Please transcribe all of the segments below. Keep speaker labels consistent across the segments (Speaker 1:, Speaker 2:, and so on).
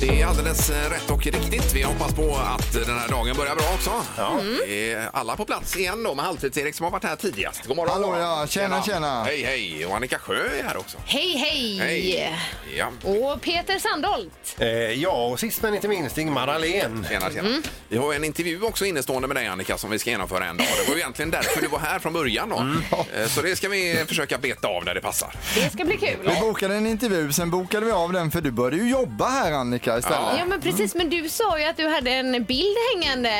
Speaker 1: Det är alldeles eh, rätt och riktigt. Vi hoppas på att den här dagen börjar bra också.
Speaker 2: Mm.
Speaker 1: Det är Alla på plats igen då med Halvtids-Erik som har varit här tidigast. God morgon.
Speaker 2: Hallå,
Speaker 1: god morgon.
Speaker 2: ja. Tjena, tjena.
Speaker 1: Hej, hej. Och Annika Sjö är här också.
Speaker 3: Hej, hej!
Speaker 1: Ja.
Speaker 3: Och Peter Sandholt.
Speaker 4: Eh, ja, och sist men inte minst Ingmar Ahlén.
Speaker 1: Tjena, tjena.
Speaker 2: Mm.
Speaker 1: Vi har ju en intervju också innestående med dig Annika som vi ska genomföra en dag. Det var ju egentligen därför du var här från början då.
Speaker 2: Mm.
Speaker 1: Eh, Så det ska vi försöka beta av när det passar.
Speaker 3: Det ska bli kul.
Speaker 2: Vi bokade en intervju, sen bokade vi av den för du började ju jobba här Annika istället.
Speaker 3: Ja, men precis. Men du sa ju att du hade en bild hängande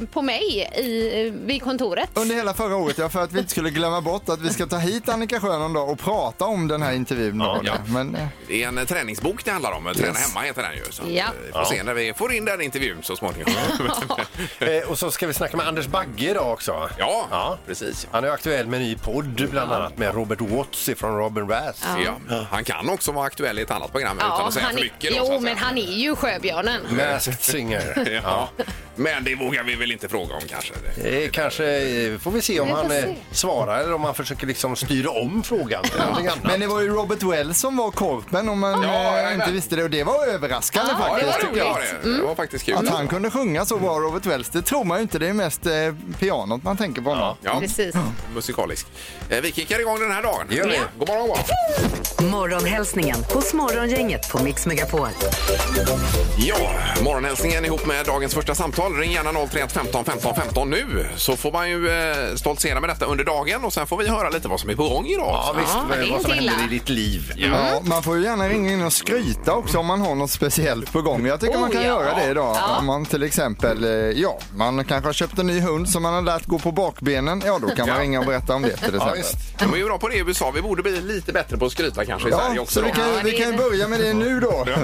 Speaker 3: eh, på mig i, eh, vid kontoret.
Speaker 2: Under hela förra året, ja, för att vi inte skulle glömma bort att vi ska ta hit Annika Sjö någon dag och prata om den här intervjun.
Speaker 4: Ja,
Speaker 1: ja.
Speaker 2: Men, eh,
Speaker 1: Det är en eh, träningsbok det handlar om. Träna
Speaker 2: Yes.
Speaker 1: hemma heter den ju. Så att,
Speaker 3: Ja.
Speaker 1: eh, Vi får se när vi får in den intervjun så småningom.
Speaker 4: Eh, och så ska vi snacka med Anders Bagge idag också.
Speaker 1: ja, precis.
Speaker 4: Han är aktuell med en ny podd bland annat med Robert Watts från Robin Rath.
Speaker 1: Ja. Han kan också vara aktuell i ett annat program utan att säga
Speaker 3: han
Speaker 1: för
Speaker 3: är,
Speaker 1: mycket. Då, så
Speaker 3: jo,
Speaker 1: att säga.
Speaker 3: men han är ju sjöbjörnen.
Speaker 4: Masked Singer.
Speaker 1: Ja. Men det vågar vi väl inte fråga om kanske. Det-
Speaker 4: Eh, kanske eh, får vi se om
Speaker 3: Vi får
Speaker 4: han eh,
Speaker 3: se.
Speaker 4: svarar eller om han försöker liksom styra om frågan. till någonting annat.
Speaker 2: men det var ju Robert Wells som var korpen om man eh,
Speaker 1: jajamän.
Speaker 2: inte visste det och det var överraskande
Speaker 3: Ja,
Speaker 2: faktiskt.
Speaker 3: det var
Speaker 2: tycker jag.
Speaker 3: roligt.
Speaker 1: det. det var faktiskt kul.
Speaker 2: Att han kunde sjunga så bra, Robert Wells, det tror man ju inte. Det är mest eh, pianot man tänker på honom. Mm.
Speaker 1: Ja,
Speaker 3: Precis.
Speaker 1: musikalisk. Eh, Vi kickar igång den här dagen.
Speaker 4: Gör vi.
Speaker 1: God morgon, god morgon.
Speaker 5: Morgonhälsningen hos Morgongänget på Mix Megapol.
Speaker 1: Ja, morgonhälsningen ihop med dagens första samtal. Ring gärna 031 15 15 15 nu så får man ju eh, stoltsera med detta under dagen och sen får vi höra lite vad som är på gång idag.
Speaker 4: Ja,
Speaker 1: också.
Speaker 4: visst,
Speaker 3: Ja,
Speaker 4: vad-
Speaker 3: det är
Speaker 4: vad som
Speaker 3: inte
Speaker 4: händer i
Speaker 3: illa.
Speaker 4: ditt liv.
Speaker 2: Ja, man får ju gärna ringa in och skryta också om man har något speciellt på gång. Jag tycker
Speaker 3: Oh,
Speaker 2: man kan
Speaker 3: ja.
Speaker 2: göra det idag. Om man till exempel, eh, ja, man kanske har köpt en ny hund som man har lärt gå på bakbenen. Ja, då kan man ringa och berätta om det till
Speaker 4: Ja,
Speaker 2: exempel.
Speaker 4: visst.
Speaker 1: De är ju bra på det i USA. Vi borde bli lite bättre på att skryta kanske i Sverige
Speaker 2: Ja,
Speaker 1: också.
Speaker 2: så vi
Speaker 1: då.
Speaker 2: kan, ju- vi kan ju börja med det nu då.
Speaker 3: Det är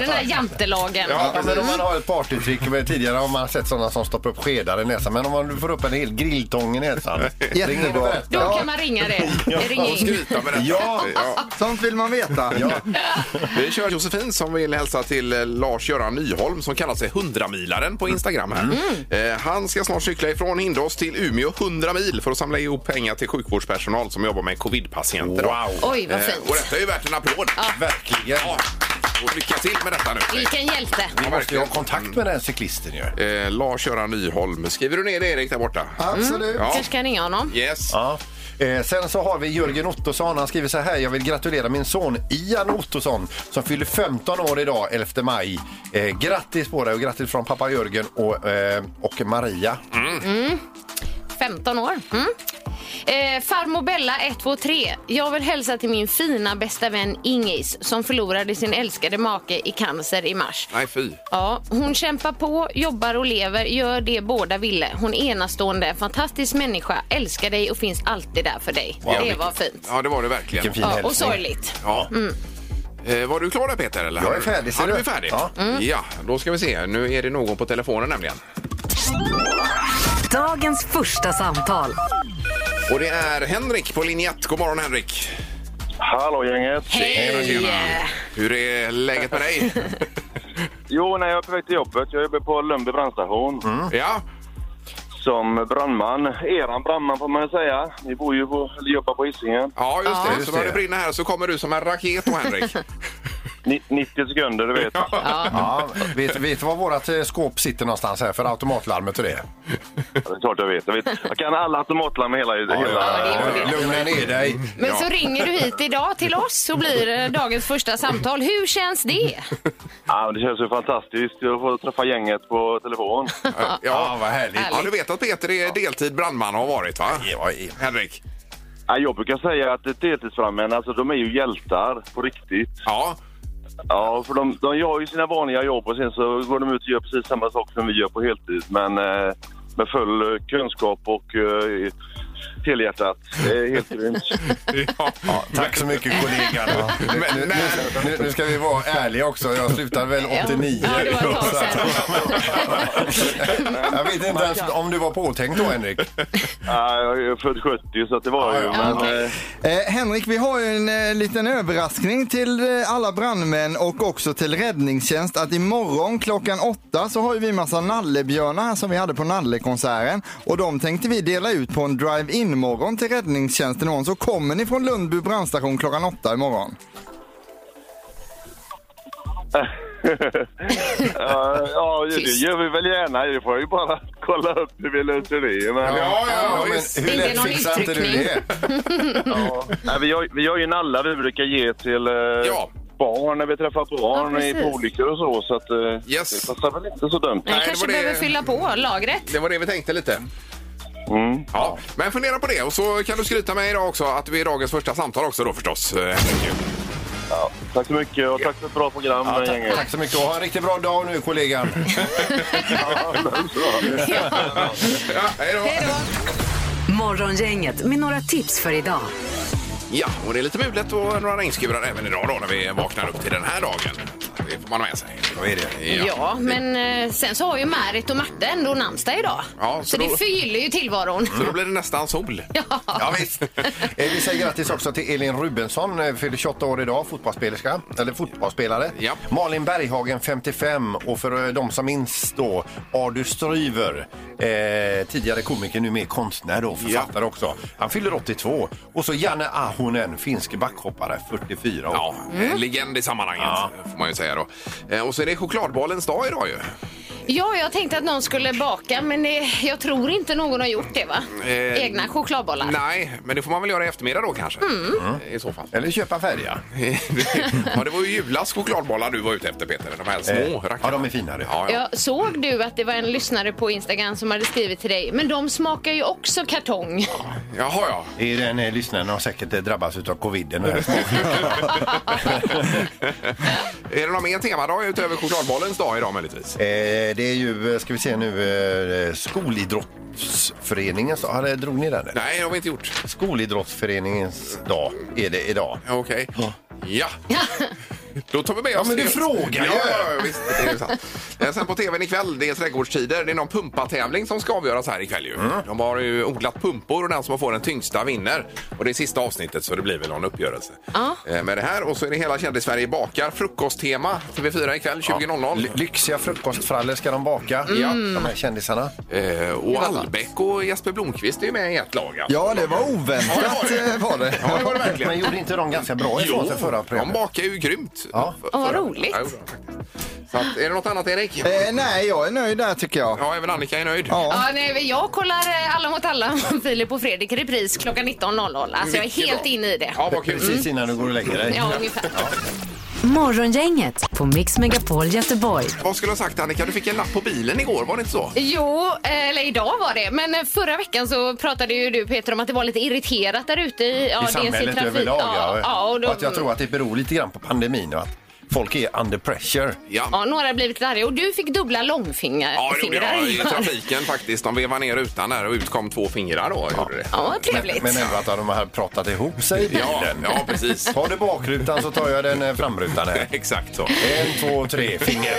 Speaker 3: den där jantelagen.
Speaker 4: Ja, men om man har ett partytrick, men tidigare har man sett sådana som stoppar upp skedar i näsan. Men om man nu får upp en hel grilltång i näsan. ring in och
Speaker 2: Jättebra.
Speaker 4: berätta.
Speaker 3: Då kan man ringa det. Ring
Speaker 1: Och
Speaker 3: in.
Speaker 1: skryta med detta.
Speaker 4: Ja.
Speaker 1: Ja.
Speaker 2: Sånt vill man veta.
Speaker 4: Ja.
Speaker 1: Vi kör Josefin som vill hälsa till eh, Lars-Göran Nyholm som kallar sig 100-milaren på Instagram. Här.
Speaker 3: Mm.
Speaker 1: Eh, han ska snart cykla ifrån Hindås till Umeå 100 mil för att samla ihop pengar till sjukvårdspersonal som jobbar med covidpatienter. då.
Speaker 4: Wow,
Speaker 3: Oj, vad
Speaker 1: Eh, och
Speaker 3: fint.
Speaker 1: detta är ju värt en applåd.
Speaker 4: verkligen.
Speaker 1: Ja. Och lycka till med detta nu.
Speaker 3: Vilken hjälte.
Speaker 4: Vi måste ju ha
Speaker 1: verkligen.
Speaker 4: kontakt med den här cyklisten ju.
Speaker 1: Eh, Lars-Göran Nyholm. Skriver du ner det, Erik, där borta?
Speaker 2: Absolut.
Speaker 1: Ja.
Speaker 3: Kanske kan ringa honom.
Speaker 1: Yes.
Speaker 4: Ja. Eh, sen så har vi Jörgen Ottosson. Han skriver så här. Jag vill gratulera min son Ian Ottosson som fyller 15 år idag 11 maj. Eh, grattis på dig och grattis från pappa Jörgen och, eh, och Maria.
Speaker 3: 15 år. Mm. Eh, farmor Bella 123. Jag vill hälsa till min fina bästa vän Ingis som förlorade sin älskade make i cancer i mars.
Speaker 1: Nej, fy.
Speaker 3: Ja, hon kämpar på, jobbar och lever, gör det båda ville. Hon är enastående, en fantastisk människa, älskar dig och finns alltid där för dig. det
Speaker 1: vilken-
Speaker 3: var fint.
Speaker 1: Ja, det var det verkligen.
Speaker 4: Vilken fin
Speaker 3: Ja, och
Speaker 4: hälsning.
Speaker 3: sorgligt. Mm.
Speaker 1: Ja. Eh, var du klar där Peter? Eller?
Speaker 4: Jag är
Speaker 1: Har du-
Speaker 4: färdig, ser
Speaker 1: Ja, du
Speaker 4: du?
Speaker 1: är färdig. Ja.
Speaker 4: Ja.
Speaker 1: ja, då ska vi se. Nu är det någon på telefonen nämligen.
Speaker 5: Dagens första samtal.
Speaker 1: Och det är Henrik på linje 1. God morgon Henrik.
Speaker 6: Hallå gänget!
Speaker 3: Hej! eh,
Speaker 1: Hur är läget med dig?
Speaker 6: Jo, när jag är på väg till jobbet. Jag jobbar på Lundby brandstation
Speaker 1: Mm. ja,
Speaker 6: som brandman. Eran brandman får man ju säga. Ni bor ju på, eller jobbar på Hisingen.
Speaker 1: ja just det.
Speaker 4: Just
Speaker 1: så börjar det
Speaker 4: det.
Speaker 1: brinna här så kommer du som en raket då Henrik.
Speaker 6: Ni, 90 sekunder, du vet.
Speaker 4: Ja, vet, vet du var vårat eh, skåp sitter någonstans här för automatlarmet och det?
Speaker 6: Ja, Det är klart jag vet. Jag, vet. jag kan alla automatlarm i hela... hela.
Speaker 4: Lugna ner dig.
Speaker 3: Men så ringer du hit idag till oss så blir det dagens första samtal. Hur känns det?
Speaker 6: Ja, men det känns ju fantastiskt att få träffa gänget på telefon.
Speaker 1: ja.
Speaker 4: Ja, vad härligt.
Speaker 1: ja, du vet att Peter är deltid brandman och har varit va?
Speaker 4: Ja, ja.
Speaker 1: Henrik?
Speaker 6: Ja, jag brukar säga att deltidsbrandmän, alltså de är ju hjältar på riktigt.
Speaker 1: Ja.
Speaker 6: Ja, för de, de gör ju sina vanliga jobb och sen så går de ut och gör precis samma sak som vi gör på heltid. Men eh, med full eh, kunskap och eh, helhjärtat. Det är helt grymt.
Speaker 1: Ja.
Speaker 4: Tack så mycket kollegan. Nu, nu, nu, nu ska vi vara ärliga också. Jag slutade väl 89.
Speaker 3: Ja, det var ett tag
Speaker 4: sedan. jag vet inte ens om du var påtänkt då Henrik.
Speaker 6: Ja, jag är ju född 70 så att det var ju.
Speaker 4: Ja,
Speaker 6: Men,
Speaker 3: okej.
Speaker 6: eh,
Speaker 2: Eh, Henrik, vi har ju en eh, liten överraskning till eh, alla brandmän och också till räddningstjänst att imorgon klockan åtta så har ju vi massa nallebjörnar här som vi hade på nallekonserten och de tänkte vi dela ut på en drive-in morgon till räddningstjänsten imorgon. Så kommer ni från Lundby brandstation klockan åtta imorgon?
Speaker 6: ja, ja, det
Speaker 3: Tyst.
Speaker 6: gör vi väl gärna. Vi får ju bara kolla upp hur vi löser det. Men,
Speaker 1: Ja, ja,
Speaker 4: men
Speaker 1: visst.
Speaker 4: hur
Speaker 3: Ingen
Speaker 4: lätt
Speaker 3: någon
Speaker 4: fixar inte du
Speaker 3: uttryckning.
Speaker 4: det?
Speaker 6: ja. Nej, vi, har, vi har ju nallar vi brukar ge till eh,
Speaker 1: Ja.
Speaker 6: barn när vi träffar barn
Speaker 3: Ja,
Speaker 6: i
Speaker 3: precis.
Speaker 6: på olyckor och så. Så att, eh,
Speaker 1: Yes.
Speaker 6: det passar väl inte så dumt.
Speaker 3: Man
Speaker 1: det
Speaker 3: kanske
Speaker 1: var det-
Speaker 3: behöver fylla på lagret.
Speaker 1: Det var det vi tänkte lite.
Speaker 6: Mm.
Speaker 1: Ja. Men fundera på det och så kan du skryta med idag också att vi är dagens första samtal också då förstås. Eh, Henrik.
Speaker 6: Tack så mycket och tack för ett bra program.
Speaker 4: Ja, tack,
Speaker 6: gänget.
Speaker 4: tack så mycket och ha en riktigt bra dag nu kollegan.
Speaker 1: Ja, hej då.
Speaker 5: Morgongänget med några tips för idag.
Speaker 1: Ja, och det är lite mulet och några regnskurar även idag då när vi vaknar upp till den här dagen. Det får man ha med sig. Vad är det?
Speaker 3: Ja,
Speaker 1: Ja.
Speaker 3: men eh, sen så har ju Märit och Marta ändå namnsdag idag.
Speaker 1: Ja,
Speaker 3: så
Speaker 1: så då-
Speaker 3: det förgyller ju tillvaron.
Speaker 1: Mm. Så då blir det nästan sol.
Speaker 4: Ja, visst. Eh, Vi säger grattis också till Elin Rubensson, eh, fyller 28 år idag, fotbollsspelerska, eller fotbollsspelare.
Speaker 1: Ja.
Speaker 4: Malin Berghagen, 55, och för eh, de som minns då, Ardu Stryver, eh, tidigare komiker, nu mer konstnär då, författare också. Han fyller 82. Och så Janne Ahonen, finsk backhoppare, 44 år.
Speaker 1: Ja, en Mm. legend i sammanhanget får man ju säga då. Eh, Och så är det chokladbollens dag idag ju.
Speaker 3: Ja, jag tänkte att någon skulle baka, men det, jag tror inte någon har gjort det, va?
Speaker 1: Eh,
Speaker 3: Egna chokladbollar. Mm.
Speaker 1: Nej, men det får man väl göra i eftermiddag då kanske. Eh, I så fall.
Speaker 4: Mm. Eller köpa färja.
Speaker 1: ja, det var ju Julas chokladbollar du var ute efter Peter. De här små
Speaker 4: Eh,
Speaker 1: rackarna.
Speaker 4: ja, de är finare.
Speaker 1: Ja, ja.
Speaker 3: Jag såg du att det var en lyssnare på Instagram som hade skrivit till dig, men de smakar ju också kartong.
Speaker 1: Jaha, ja.
Speaker 4: I den eh, lyssnaren har säkert eh, drabbats av coviden.
Speaker 1: Är det någon mer temadag utöver chokladbollens dag idag möjligtvis?
Speaker 4: Eh, det är ju, eh, ska vi se nu, eh, skolidrottsföreningens dag. Har det- Drog ni den? eller?
Speaker 1: Nej, det har vi inte gjort.
Speaker 4: Skolidrottsföreningens dag är det idag.
Speaker 1: Okej. Ja. Då tar vi med oss
Speaker 4: men du
Speaker 1: det.
Speaker 4: frågar ju.
Speaker 1: ja, ja, ja, visst, det är ju sant. Eh, Sen på tvn ikväll, det är trädgårdstider. Det är någon pumpatävling som ska avgöras här ikväll
Speaker 4: Mm.
Speaker 1: ju. De har ju odlat pumpor och den som får den tyngsta vinner. Och det är sista avsnittet så det blir väl någon uppgörelse.
Speaker 3: Ja.
Speaker 1: Eh, Med det här och så är det hela Kändis-Sverige bakar. Frukosttema TV4 ikväll 20.00.
Speaker 4: Ly- lyxiga frukostfrallor ska de baka, de här kändisarna.
Speaker 1: Eh, Och Albeck och Jesper Blomqvist är ju med i ett lag. alltså.
Speaker 2: Ja, det var oväntat
Speaker 1: Ja, det
Speaker 2: eh, var
Speaker 1: var det.
Speaker 2: det.
Speaker 1: Ja, det var det verkligen.
Speaker 4: Men gjorde inte de ganska bra ifrån sig förra
Speaker 1: de
Speaker 4: programmet?
Speaker 1: bakar ju grymt.
Speaker 4: Ja.
Speaker 1: F-
Speaker 3: Åh, vad
Speaker 1: förra-
Speaker 3: roligt.
Speaker 1: Ja, det gjorde de faktiskt. Så att, är det något annat, Erik?
Speaker 2: Eh, nej, jag är nöjd där tycker jag.
Speaker 1: Ja, även Annika är nöjd.
Speaker 2: Ja.
Speaker 3: Ja, nej, men jag kollar eh, Alla mot alla, Filip och Fredrik i repris klockan 19.00. Alltså jag är
Speaker 1: Mycket
Speaker 3: helt
Speaker 1: bra.
Speaker 3: inne i det. Mm.
Speaker 1: Ja, vad kul. Mm.
Speaker 4: Precis innan du går och lägger dig.
Speaker 3: Ja, ungefär.
Speaker 5: Morgongänget på Mix Megapol Göteborg.
Speaker 1: Vad skulle jag ha sagt Annika? Du fick en lapp på bilen igår, var det inte så?
Speaker 3: Jo, eh, eller idag var det. Men eh, förra veckan så pratade ju du Peter om att det var lite irriterat där ute i, ja,
Speaker 4: I
Speaker 3: dels
Speaker 4: samhället
Speaker 3: trafik-
Speaker 4: överlag.
Speaker 3: Ja, ja, och då,
Speaker 4: att jag tror att det beror lite grann på pandemin och att folk är under pressure.
Speaker 1: Ja.
Speaker 3: ja, några har blivit arga och du fick dubbla långfingrar.
Speaker 1: Ja, det gjorde jag i
Speaker 3: fingrar.
Speaker 1: trafiken faktiskt. De vevade ner utan där och utkom två fingrar då. Gjorde det.
Speaker 3: Ja, trevligt.
Speaker 4: Men ändå att de har pratat ihop sig i
Speaker 1: Ja,
Speaker 4: bilen.
Speaker 1: ja, precis.
Speaker 4: Tar du bakrutan så tar jag den eh, framrutan här.
Speaker 1: Exakt så.
Speaker 4: En, två, tre, finger.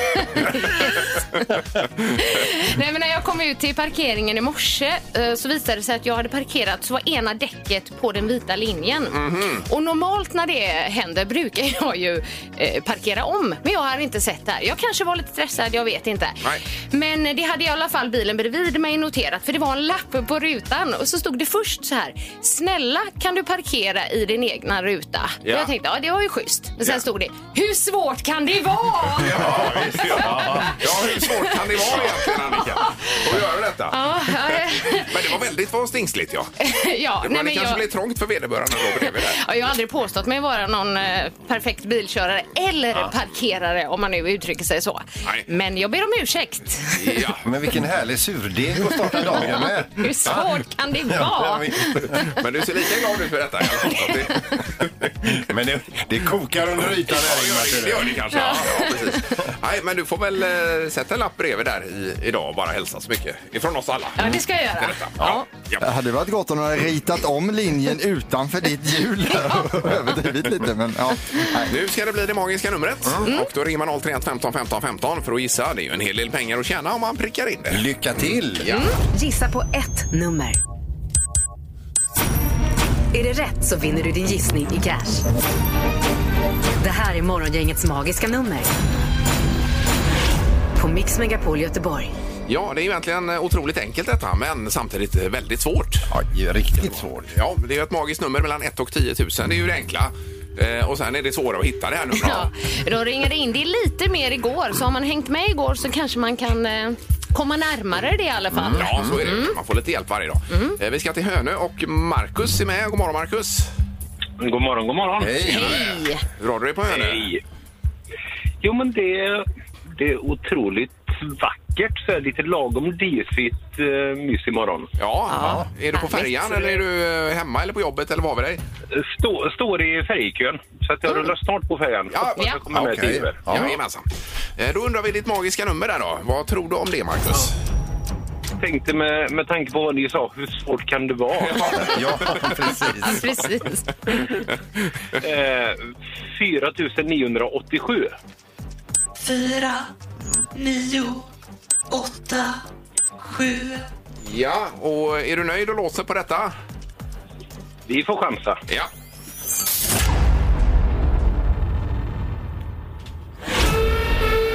Speaker 3: Nej, men när jag kom ut till parkeringen i morse eh, så visade det sig att jag hade parkerat så var ena däcket på den vita linjen.
Speaker 1: Mhm.
Speaker 3: Och normalt när det händer brukar jag ju eh, parkera om, men jag har inte sett det här. Jag kanske var lite stressad, jag vet inte.
Speaker 1: Nej.
Speaker 3: Men eh, det hade i alla fall bilen bredvid mig noterat för det var en lapp på rutan och så stod det först så här. Snälla kan du parkera i din egna ruta? Och
Speaker 1: Ja.
Speaker 3: Jag tänkte ja det var ju schysst. Men sen
Speaker 1: Ja.
Speaker 3: stod det hur svårt kan det vara?
Speaker 1: Ja, visst, ja. ja, hur svårt kan det vara egentligen Annika? Att göra detta?
Speaker 3: Ja, eh,
Speaker 1: Men det var väldigt vad stingsligt ja.
Speaker 3: ja,
Speaker 1: Men
Speaker 3: nej,
Speaker 1: det
Speaker 3: men
Speaker 1: kanske
Speaker 3: jag-
Speaker 1: blev trångt för vederbörande då bredvid där.
Speaker 3: Ja, jag har aldrig påstått mig vara någon eh, perfekt bilkörare eller parkerare om man nu uttrycker sig så.
Speaker 1: Nej.
Speaker 3: Men jag ber om ursäkt.
Speaker 1: Ja.
Speaker 4: Men vilken härlig surdeg att starta dagen med.
Speaker 3: Hur svårt kan det
Speaker 4: Ja,
Speaker 3: vara?
Speaker 1: Men du ser lika glad ut för detta. Jag har förstått det.
Speaker 4: Men det, det kokar under ytan
Speaker 1: Ja,
Speaker 4: här
Speaker 1: det gör det, det gör
Speaker 4: Ingmar, ser du.
Speaker 1: det kanske. Ja, ja, precis. Nej, men du får väl eh, sätta en lapp bredvid där i, idag och bara hälsa så mycket. Ifrån oss alla.
Speaker 3: Ja, det ska jag göra.
Speaker 1: Till detta. Ja.
Speaker 3: Ja.
Speaker 2: Det hade varit gott om de hade ritat om linjen utanför ditt hjul. och Överdrivit lite, men ja.
Speaker 1: Nu ska det bli det magiska numret. Och då ringer man 031 15 15 15 för att gissa. Det är ju en hel del pengar att tjäna om man prickar in det.
Speaker 4: Lycka till! Ja.
Speaker 5: Gissa på ett nummer. Är det rätt så vinner du din gissning i cash. Det här är Morgongängets magiska nummer. På Mix Megapol Göteborg.
Speaker 1: Ja, det är ju egentligen otroligt enkelt detta, men samtidigt väldigt svårt.
Speaker 4: ju riktigt svårt.
Speaker 1: Ja, det är ju ett magiskt nummer mellan 1 och 10 000. Det är ju det enkla. Eh, och sen är det svåra att hitta det här numret.
Speaker 3: Ja, de ringade in. Det är lite mer igår, så har man hängt med igår så kanske man kan eh, komma närmare det i alla fall.
Speaker 1: Mm.
Speaker 3: Mm.
Speaker 1: Ja, så är det. Man får lite hjälp varje dag. Eh, Vi ska till Hönö och Markus är med. God morgon Markus!
Speaker 6: God morgon, god morgon.
Speaker 3: Hej!
Speaker 1: Hur har du dig på Hönö?
Speaker 6: Hej. Jo, men det, det är otroligt vackert. Så här, lite lagom disigt uh, mys imorgon.
Speaker 1: Ja, är du på
Speaker 3: härligt.
Speaker 1: färjan eller är du eh, hemma eller på jobbet eller var vi dig? Mm.
Speaker 6: Stå, står i färjkön, så att jag rullar snart på färjan.
Speaker 1: Ja,
Speaker 6: Hoppas jag kommer med
Speaker 4: okej.
Speaker 6: till er.
Speaker 1: Ja. Jajamensan. Eh, Då undrar vi ditt magiska nummer där då. Vad tror du om det Markus?
Speaker 6: Tänkte med, med tanke på vad ni sa, hur svårt kan det vara?
Speaker 4: Ja, precis.
Speaker 3: Precis.
Speaker 6: Eh, 4 987.
Speaker 7: 4, 9, 8, 7.
Speaker 1: Ja, och är du nöjd och låser på detta?
Speaker 6: Vi får chansa.
Speaker 1: Ja.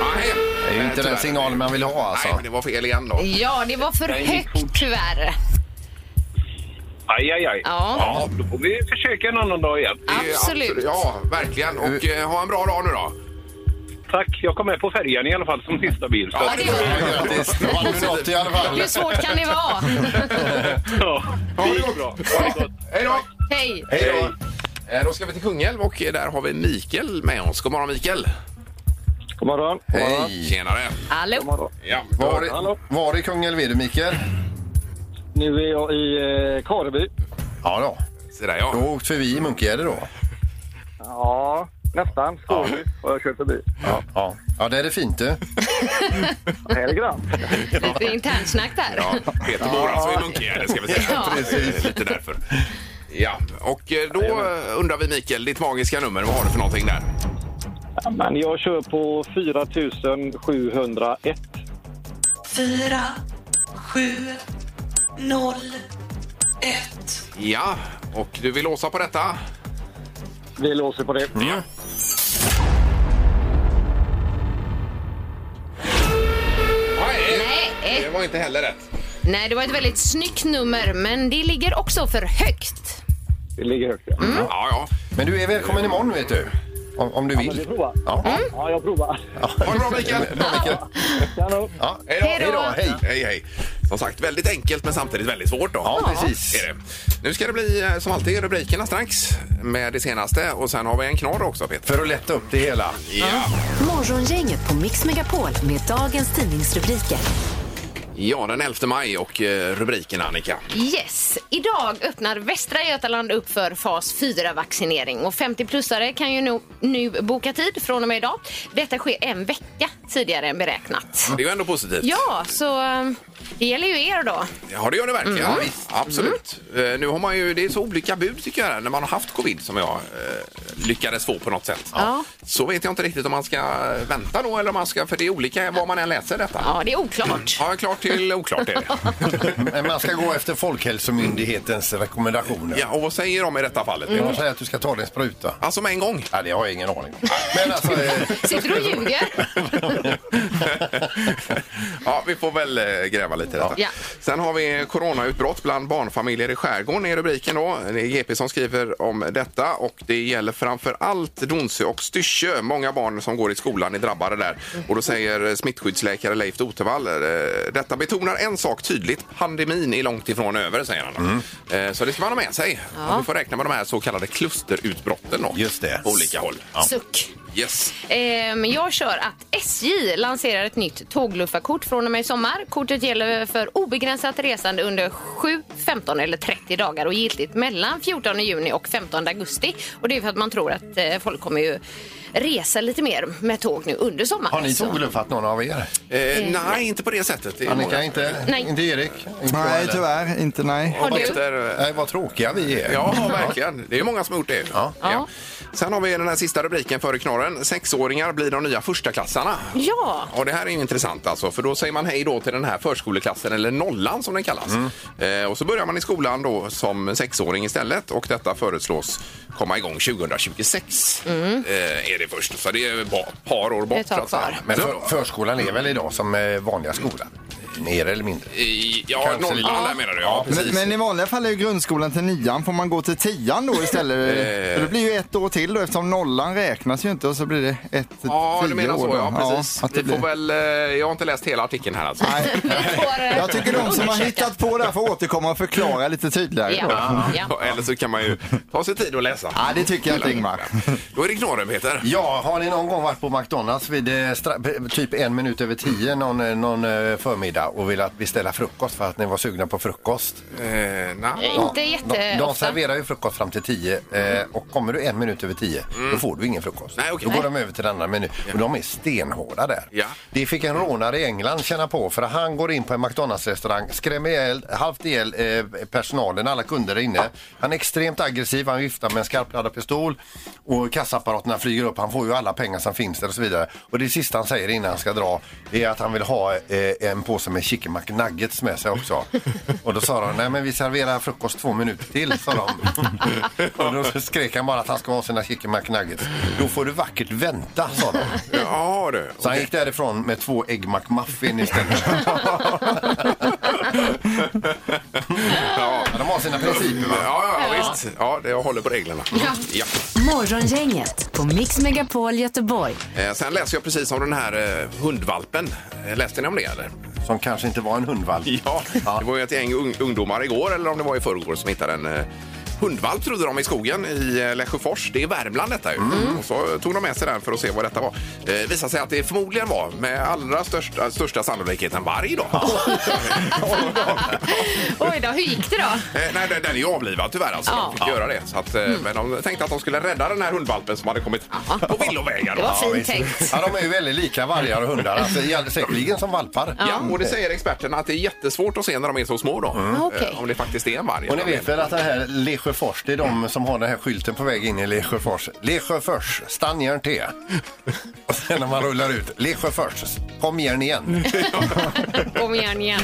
Speaker 1: Nej,
Speaker 4: Det är ju
Speaker 1: Eh,
Speaker 4: inte
Speaker 1: tyvärr.
Speaker 4: den signalen man vill ha
Speaker 1: Nej,
Speaker 4: alltså.
Speaker 1: men det var fel igen då.
Speaker 3: Ja, det var för
Speaker 6: Nej, det gick
Speaker 3: högt tyvärr.
Speaker 6: Aj, aj, aj.
Speaker 3: Ja,
Speaker 6: Ja, då får vi försöka en annan dag igen.
Speaker 1: Det är ju
Speaker 3: absolut.
Speaker 1: Ja, verkligen. Och eh, ha en bra dag nu då.
Speaker 6: Tack, jag kom med på färjan i alla fall som sista bil. Så.
Speaker 3: Ja, det var...
Speaker 4: Grattis, då vann du något i alla fall.
Speaker 3: Hur svårt kan det vara?
Speaker 6: Ja,
Speaker 1: Ja,
Speaker 6: det går bra.
Speaker 1: Ja.
Speaker 6: Ha det gott.
Speaker 1: Hej då!
Speaker 3: Hej!
Speaker 4: Hej då!
Speaker 1: Eh, Då ska vi till Kungälv och eh, där har vi Mikael med oss. God morgon Mikael!
Speaker 6: God morgon.
Speaker 4: Hej!
Speaker 1: Tjenare!
Speaker 3: Hallå!
Speaker 1: Ja,
Speaker 4: Var,
Speaker 7: Hallå.
Speaker 4: i- var i Kungälv är du Mikael?
Speaker 7: Nu är jag i eh, Kareby.
Speaker 4: Ja då.
Speaker 1: se där
Speaker 4: Då
Speaker 1: ja.
Speaker 4: har åkt förbi i Munkegärde då.
Speaker 7: Ja, nästan. Skåne har jag kört förbi.
Speaker 4: Ja. Ja, ja där är det fint du.
Speaker 7: Här är grant.
Speaker 3: Lite internsnack
Speaker 1: ja.
Speaker 3: där.
Speaker 1: Peter bor alltså i Munkegärde ska vi säga.
Speaker 3: Ja.
Speaker 1: Precis. Lite därför. Ja, och eh, då eh, undrar vi Mikael, ditt magiska nummer, vad har du för någonting där?
Speaker 7: Men jag kör på 4701.
Speaker 8: 4, 7, 0, 1.
Speaker 1: Ja, och du vill låsa på detta? Mm.
Speaker 7: Vi låser på det.
Speaker 1: Ja. Nej,
Speaker 3: Nej,
Speaker 1: det
Speaker 3: eh,
Speaker 1: var inte heller rätt.
Speaker 3: nej, det var ett väldigt snyggt nummer, men det ligger också för högt.
Speaker 7: Det ligger högt. Ja,
Speaker 1: Mm. Ja, ja.
Speaker 4: Men du är välkommen imorgon vet du. Om, om du
Speaker 7: men vi
Speaker 4: vill.
Speaker 7: provar.
Speaker 4: Ja.
Speaker 7: Ja, jag provar.
Speaker 1: Ha Mm. det bra Mikael!
Speaker 4: Bra Mikael.
Speaker 7: Kanon.
Speaker 4: Ja.
Speaker 1: Hej då!
Speaker 3: Hej då.
Speaker 1: Hej Hej, hej, hej! Som sagt, väldigt enkelt men samtidigt väldigt svårt. Då.
Speaker 4: Ja, precis.
Speaker 1: Är det. Nu ska det bli eh, som alltid rubrikerna strax med det senaste och sen har vi en knorr också Peter.
Speaker 4: För att lätta upp det hela.
Speaker 1: Ja.
Speaker 5: Morgongänget på Mix Megapol med dagens tidningsrubriker.
Speaker 1: ja, den 11 maj och eh, rubriken Annika.
Speaker 3: Yes! Idag öppnar Västra Götaland upp för fas 4-vaccinering och 50-plussare kan ju nu, nu boka tid från och med idag. Detta sker en vecka tidigare än beräknat.
Speaker 1: Det är ju ändå positivt.
Speaker 3: Ja, så eh, det gäller ju er då.
Speaker 1: Ja, det gör det verkligen.
Speaker 3: Mm.
Speaker 1: Ja, visst. Absolut. Eh, Nu har man ju, det är så olika bud tycker jag, när man har haft covid som jag eh, lyckades få på något sätt.
Speaker 3: Ja.
Speaker 1: Så vet jag inte riktigt om man ska vänta då eller om man ska, för det är olika vad man än läser detta.
Speaker 3: Ja, det är oklart.
Speaker 1: Ja, klart till oklart är det.
Speaker 4: Men man ska gå efter Folkhälsomyndighetens rekommendationer.
Speaker 1: Ja, och vad säger de i detta fallet?
Speaker 4: De säger att du ska ta din spruta.
Speaker 1: Alltså med en gång?
Speaker 4: Ja, det har jag ingen aning om. Men alltså, eh,
Speaker 3: Sitter du och ljuger?
Speaker 1: ja, vi får väl eh, gräva lite i detta.
Speaker 3: Ja.
Speaker 1: Sen har vi coronautbrott bland barnfamiljer i skärgården är rubriken då. Det är GP som skriver om detta och det gäller framför allt Donsö och Styrsö. Många barn som går i skolan är drabbade där. Och då säger smittskyddsläkare Leif Dotevall, eh, detta betonar en sak tydligt. Pandemin är långt ifrån över, säger han.
Speaker 4: Mm.
Speaker 1: Eh, Så det ska man ha med sig. Och Vi får räkna med de här så kallade klusterutbrotten då.
Speaker 4: Just det.
Speaker 1: På olika håll.
Speaker 3: Suck.
Speaker 1: Yes.
Speaker 3: Ehm, jag kör att SJ lanserar ett nytt tågluffarkort från och med i sommar. Kortet gäller för obegränsat resande under 7, 15 eller 30 dagar och giltigt mellan 14 juni och 15 augusti. Och det är för att man tror att eh, folk kommer ju resa lite mer med tåg nu under sommaren. alltså.
Speaker 4: Har ni
Speaker 3: Så-
Speaker 4: tågluffat någon av er?
Speaker 1: Eh, nej, inte på det sättet. Det är
Speaker 4: Annika,
Speaker 1: många.
Speaker 4: inte,
Speaker 3: Nej.
Speaker 4: inte Erik? Inte jag
Speaker 2: Nej,
Speaker 4: heller.
Speaker 2: tyvärr. Inte nej.
Speaker 3: Har du?
Speaker 1: Efter,
Speaker 4: Nej, vad tråkiga vi är.
Speaker 1: ja, verkligen. Det är många som har gjort det.
Speaker 4: Ja.
Speaker 3: Ja.
Speaker 1: Sen har vi den här sista rubriken före knorren. Sexåringar blir de nya förstaklassarna.
Speaker 3: Ja,
Speaker 1: Ja, det här är ju intressant alltså, för då säger man hej då till den här förskoleklassen, eller nollan som den kallas.
Speaker 4: Mm.
Speaker 1: Eh, och så börjar man i skolan då som sexåring istället och detta föreslås komma igång 2026. Eh, är det först, så det är ett par år bort.
Speaker 3: Mm,
Speaker 1: alltså.
Speaker 3: ett tag
Speaker 1: så att säga.
Speaker 3: kvar.
Speaker 4: Men för, förskolan är väl idag som eh, vanliga skolan? Mer eller mindre.
Speaker 1: I, ja,
Speaker 4: Kanske lite.
Speaker 1: nollan där menar du, ja
Speaker 2: Men,
Speaker 1: precis.
Speaker 2: men i vanliga fall är ju grundskolan till nian. Får man gå till tian då istället?
Speaker 1: Eh.
Speaker 2: För det blir ju ett år till då eftersom nollan räknas ju inte och så blir det ett till
Speaker 1: Ja,
Speaker 2: tio
Speaker 1: du menar
Speaker 2: år
Speaker 1: så.
Speaker 2: då.
Speaker 1: Ja, precis.
Speaker 2: att det
Speaker 1: Vi får
Speaker 2: blir-
Speaker 1: väl, eh, jag har inte läst hela artikeln här alltså.
Speaker 2: Nej.
Speaker 3: eh,
Speaker 2: Jag tycker de som har hittat på det här får återkomma och förklara lite tydligare. då.
Speaker 3: Ja, ja.
Speaker 1: Eller så kan man ju ta sig tid och läsa.
Speaker 2: Ja, det tycker jag inte Ingmar.
Speaker 1: Då är det knorren, Peter.
Speaker 4: Ja, har ni någon gång varit på McDonalds vid eh, stra- p- typ en minut över tio någon, eh, någon eh, förmiddag och velat beställa frukost för att ni var sugna på frukost?
Speaker 1: Eh, nej.
Speaker 3: Inte
Speaker 4: De, de
Speaker 3: jätteofta.
Speaker 4: serverar ju frukost fram till tio eh, och kommer du en minut över tio då får du ingen frukost.
Speaker 1: Mm. Nej, okej.
Speaker 4: Då går de över till den andra menyn och de är stenhårda där.
Speaker 1: Ja.
Speaker 4: Det fick en rånare i England känna på för att han går in på en McDonalds-restaurang, skrämmer ihjäl, halvt ihjäl eh, personalen, alla kunder är inne. Han är extremt aggressiv, han viftar med en skarpladdad pistol och kassaapparaterna flyger upp. Han får ju alla pengar som finns där och så vidare. Och det sista han säger innan han ska dra det är att han vill ha eh, en påse med chicken McNuggets med sig också. Och då sa de, nej men vi serverar frukost två minuter till, sa de. Och då skrek han bara att han ska ha sina chicken McNuggets. Då får du vackert vänta, sa de.
Speaker 1: Ja, du.
Speaker 4: Så han gick därifrån med två ägg McMuffin istället.
Speaker 1: Ja.
Speaker 4: De har sina principer.
Speaker 1: Ja, ja, ja, visst. Ja, det, jag håller på reglerna. Ja.
Speaker 5: Morgongänget på Mix Megapol Göteborg.
Speaker 1: Eh, sen läser jag precis om den här eh, hundvalpen. Eh, Läste ni om det eller?
Speaker 4: Som kanske inte var en hundvalp.
Speaker 1: Ja. Det var ju ett gäng ung- ungdomar igår, eller om det var i förrgår, som hittade en eh, hundvalp trodde de i skogen i eh, Lesjöfors. Det är Värmland detta ju.
Speaker 4: Mm.
Speaker 1: Mm. Och så tog de med sig den för att se vad detta var. Eh, visade sig att det förmodligen var med allra största, största sannolikhet en varg då.
Speaker 3: Oj då, hur gick det då?
Speaker 1: Eh, nej, den, den är ju avlivad tyvärr alltså.
Speaker 3: Ja. Mm.
Speaker 1: De fick göra det. Så att, eh, Men de tänkte att de skulle rädda den här hundvalpen som hade kommit på villovägar.
Speaker 3: Det var
Speaker 1: Ja,
Speaker 3: fint
Speaker 1: visst.
Speaker 3: tänkt.
Speaker 4: Ja, de är ju väldigt lika vargar och hundar. Alltså, i all- säkerligen som valpar.
Speaker 1: Ja, och det säger experterna att det är jättesvårt att se när de är så små då. Eh,
Speaker 3: Ah, Okej.
Speaker 1: Om det faktiskt är en varg.
Speaker 4: Och ni vet väl att det här Lesjöfors, det är de som har den här skylten på väg in i Lesjöfors. Lesjöfors, stann te. Och sen när man rullar ut, Lesjöfors, kom igen igen.
Speaker 3: Kom igen, igen.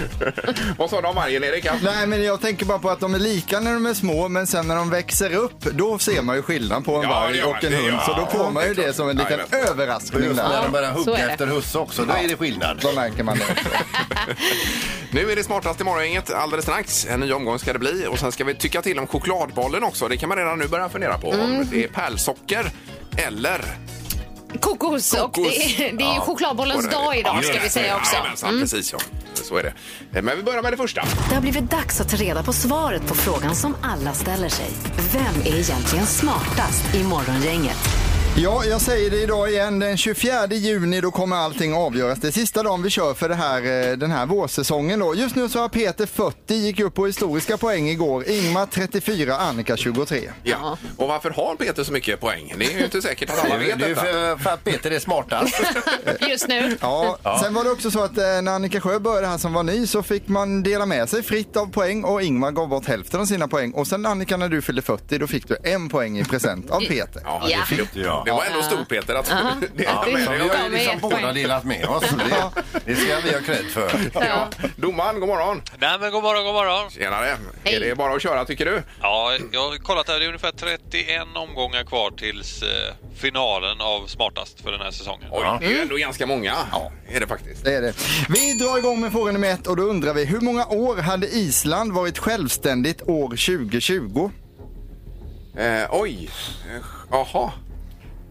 Speaker 1: Vad sa du om vargen, Erik? Ja.
Speaker 2: Nej, men jag tänker bara på att de är lika när de är små, men sen när de växer upp, då ser man ju skillnad på en
Speaker 1: Ja, det
Speaker 2: varg
Speaker 1: gör man.
Speaker 2: och en
Speaker 1: Det gör
Speaker 2: hund. Så då
Speaker 1: man.
Speaker 2: får man ju
Speaker 1: Ja, det är
Speaker 2: det som en
Speaker 1: klart.
Speaker 2: liten
Speaker 1: Nej, men-
Speaker 4: Och
Speaker 2: överraskning
Speaker 4: just när
Speaker 2: där.
Speaker 4: de börjar
Speaker 3: så
Speaker 4: hugga
Speaker 3: är det.
Speaker 4: efter husse också, då är det skillnad.
Speaker 2: Då märker man det.
Speaker 1: Nu är det smartast i morgongänget alldeles strax. En ny omgång ska det bli. Och sen ska vi tycka till om chokladbollen också. Det kan man redan nu börja fundera på.
Speaker 3: Mm.
Speaker 1: Om det är pärlsocker eller...
Speaker 3: Kokos. Och
Speaker 1: Kokos.
Speaker 3: det, är- det är ju
Speaker 1: Ja.
Speaker 3: chokladbollens dag idag ska vi säga också. Mm.
Speaker 1: Jajamensan, precis ja. alltså. Så är det. Eh, Men vi börjar med det första.
Speaker 5: Det har blivit dags att ta reda på svaret på frågan som alla ställer sig. Vem är egentligen smartast i Morgongänget?
Speaker 2: Ja, jag säger det idag igen. Den 24 juni då kommer allting avgöras. Det är sista dagen vi kör för det här, eh, den här vårsäsongen. Då. Just nu så har Peter 40, gick upp på historiska poäng igår. Ingmar 34, Annika 23.
Speaker 1: Ja. Och varför har Peter så mycket poäng? Det är ju inte säkert att
Speaker 4: Det
Speaker 1: alla
Speaker 4: är ju-
Speaker 1: vet
Speaker 4: det är ju
Speaker 1: detta.
Speaker 4: för, för att Peter är smartast.
Speaker 3: Just nu.
Speaker 2: Ja, Sen var det också så att eh, när Annika Sjö började här som var ny så fick man dela med sig fritt av poäng och Ingmar gav bort hälften av sina poäng. Och sen Annika när du fyllde 40 då fick du en poäng i present av Peter.
Speaker 1: Ja,
Speaker 3: Ja.
Speaker 1: Det, fick jag. det var ändå stort Peter. Att, det är
Speaker 4: Ja,
Speaker 1: med dig.
Speaker 4: men vi har ju
Speaker 3: de är
Speaker 4: liksom
Speaker 3: ett
Speaker 4: båda
Speaker 3: poäng.
Speaker 4: delat med oss. Det, det ska vi ha cred för.
Speaker 1: Ja. Domaren, god morgon!
Speaker 9: Nej men god morgon, god morgon.
Speaker 1: Tjenare!
Speaker 3: Hej.
Speaker 1: Är det bara att köra tycker du?
Speaker 9: Ja, jag har kollat här. Det är ungefär 31 omgångar kvar tills eh, finalen av Smartast för den här säsongen.
Speaker 1: Oj, Mm. det är ju ändå ganska många. Ja. Är det faktiskt.
Speaker 2: Det är det. Vi drar igång med fråga nummer ett och då undrar vi hur många år hade Island varit självständigt år 2020?
Speaker 1: Eh, oj! Eh, Jaha.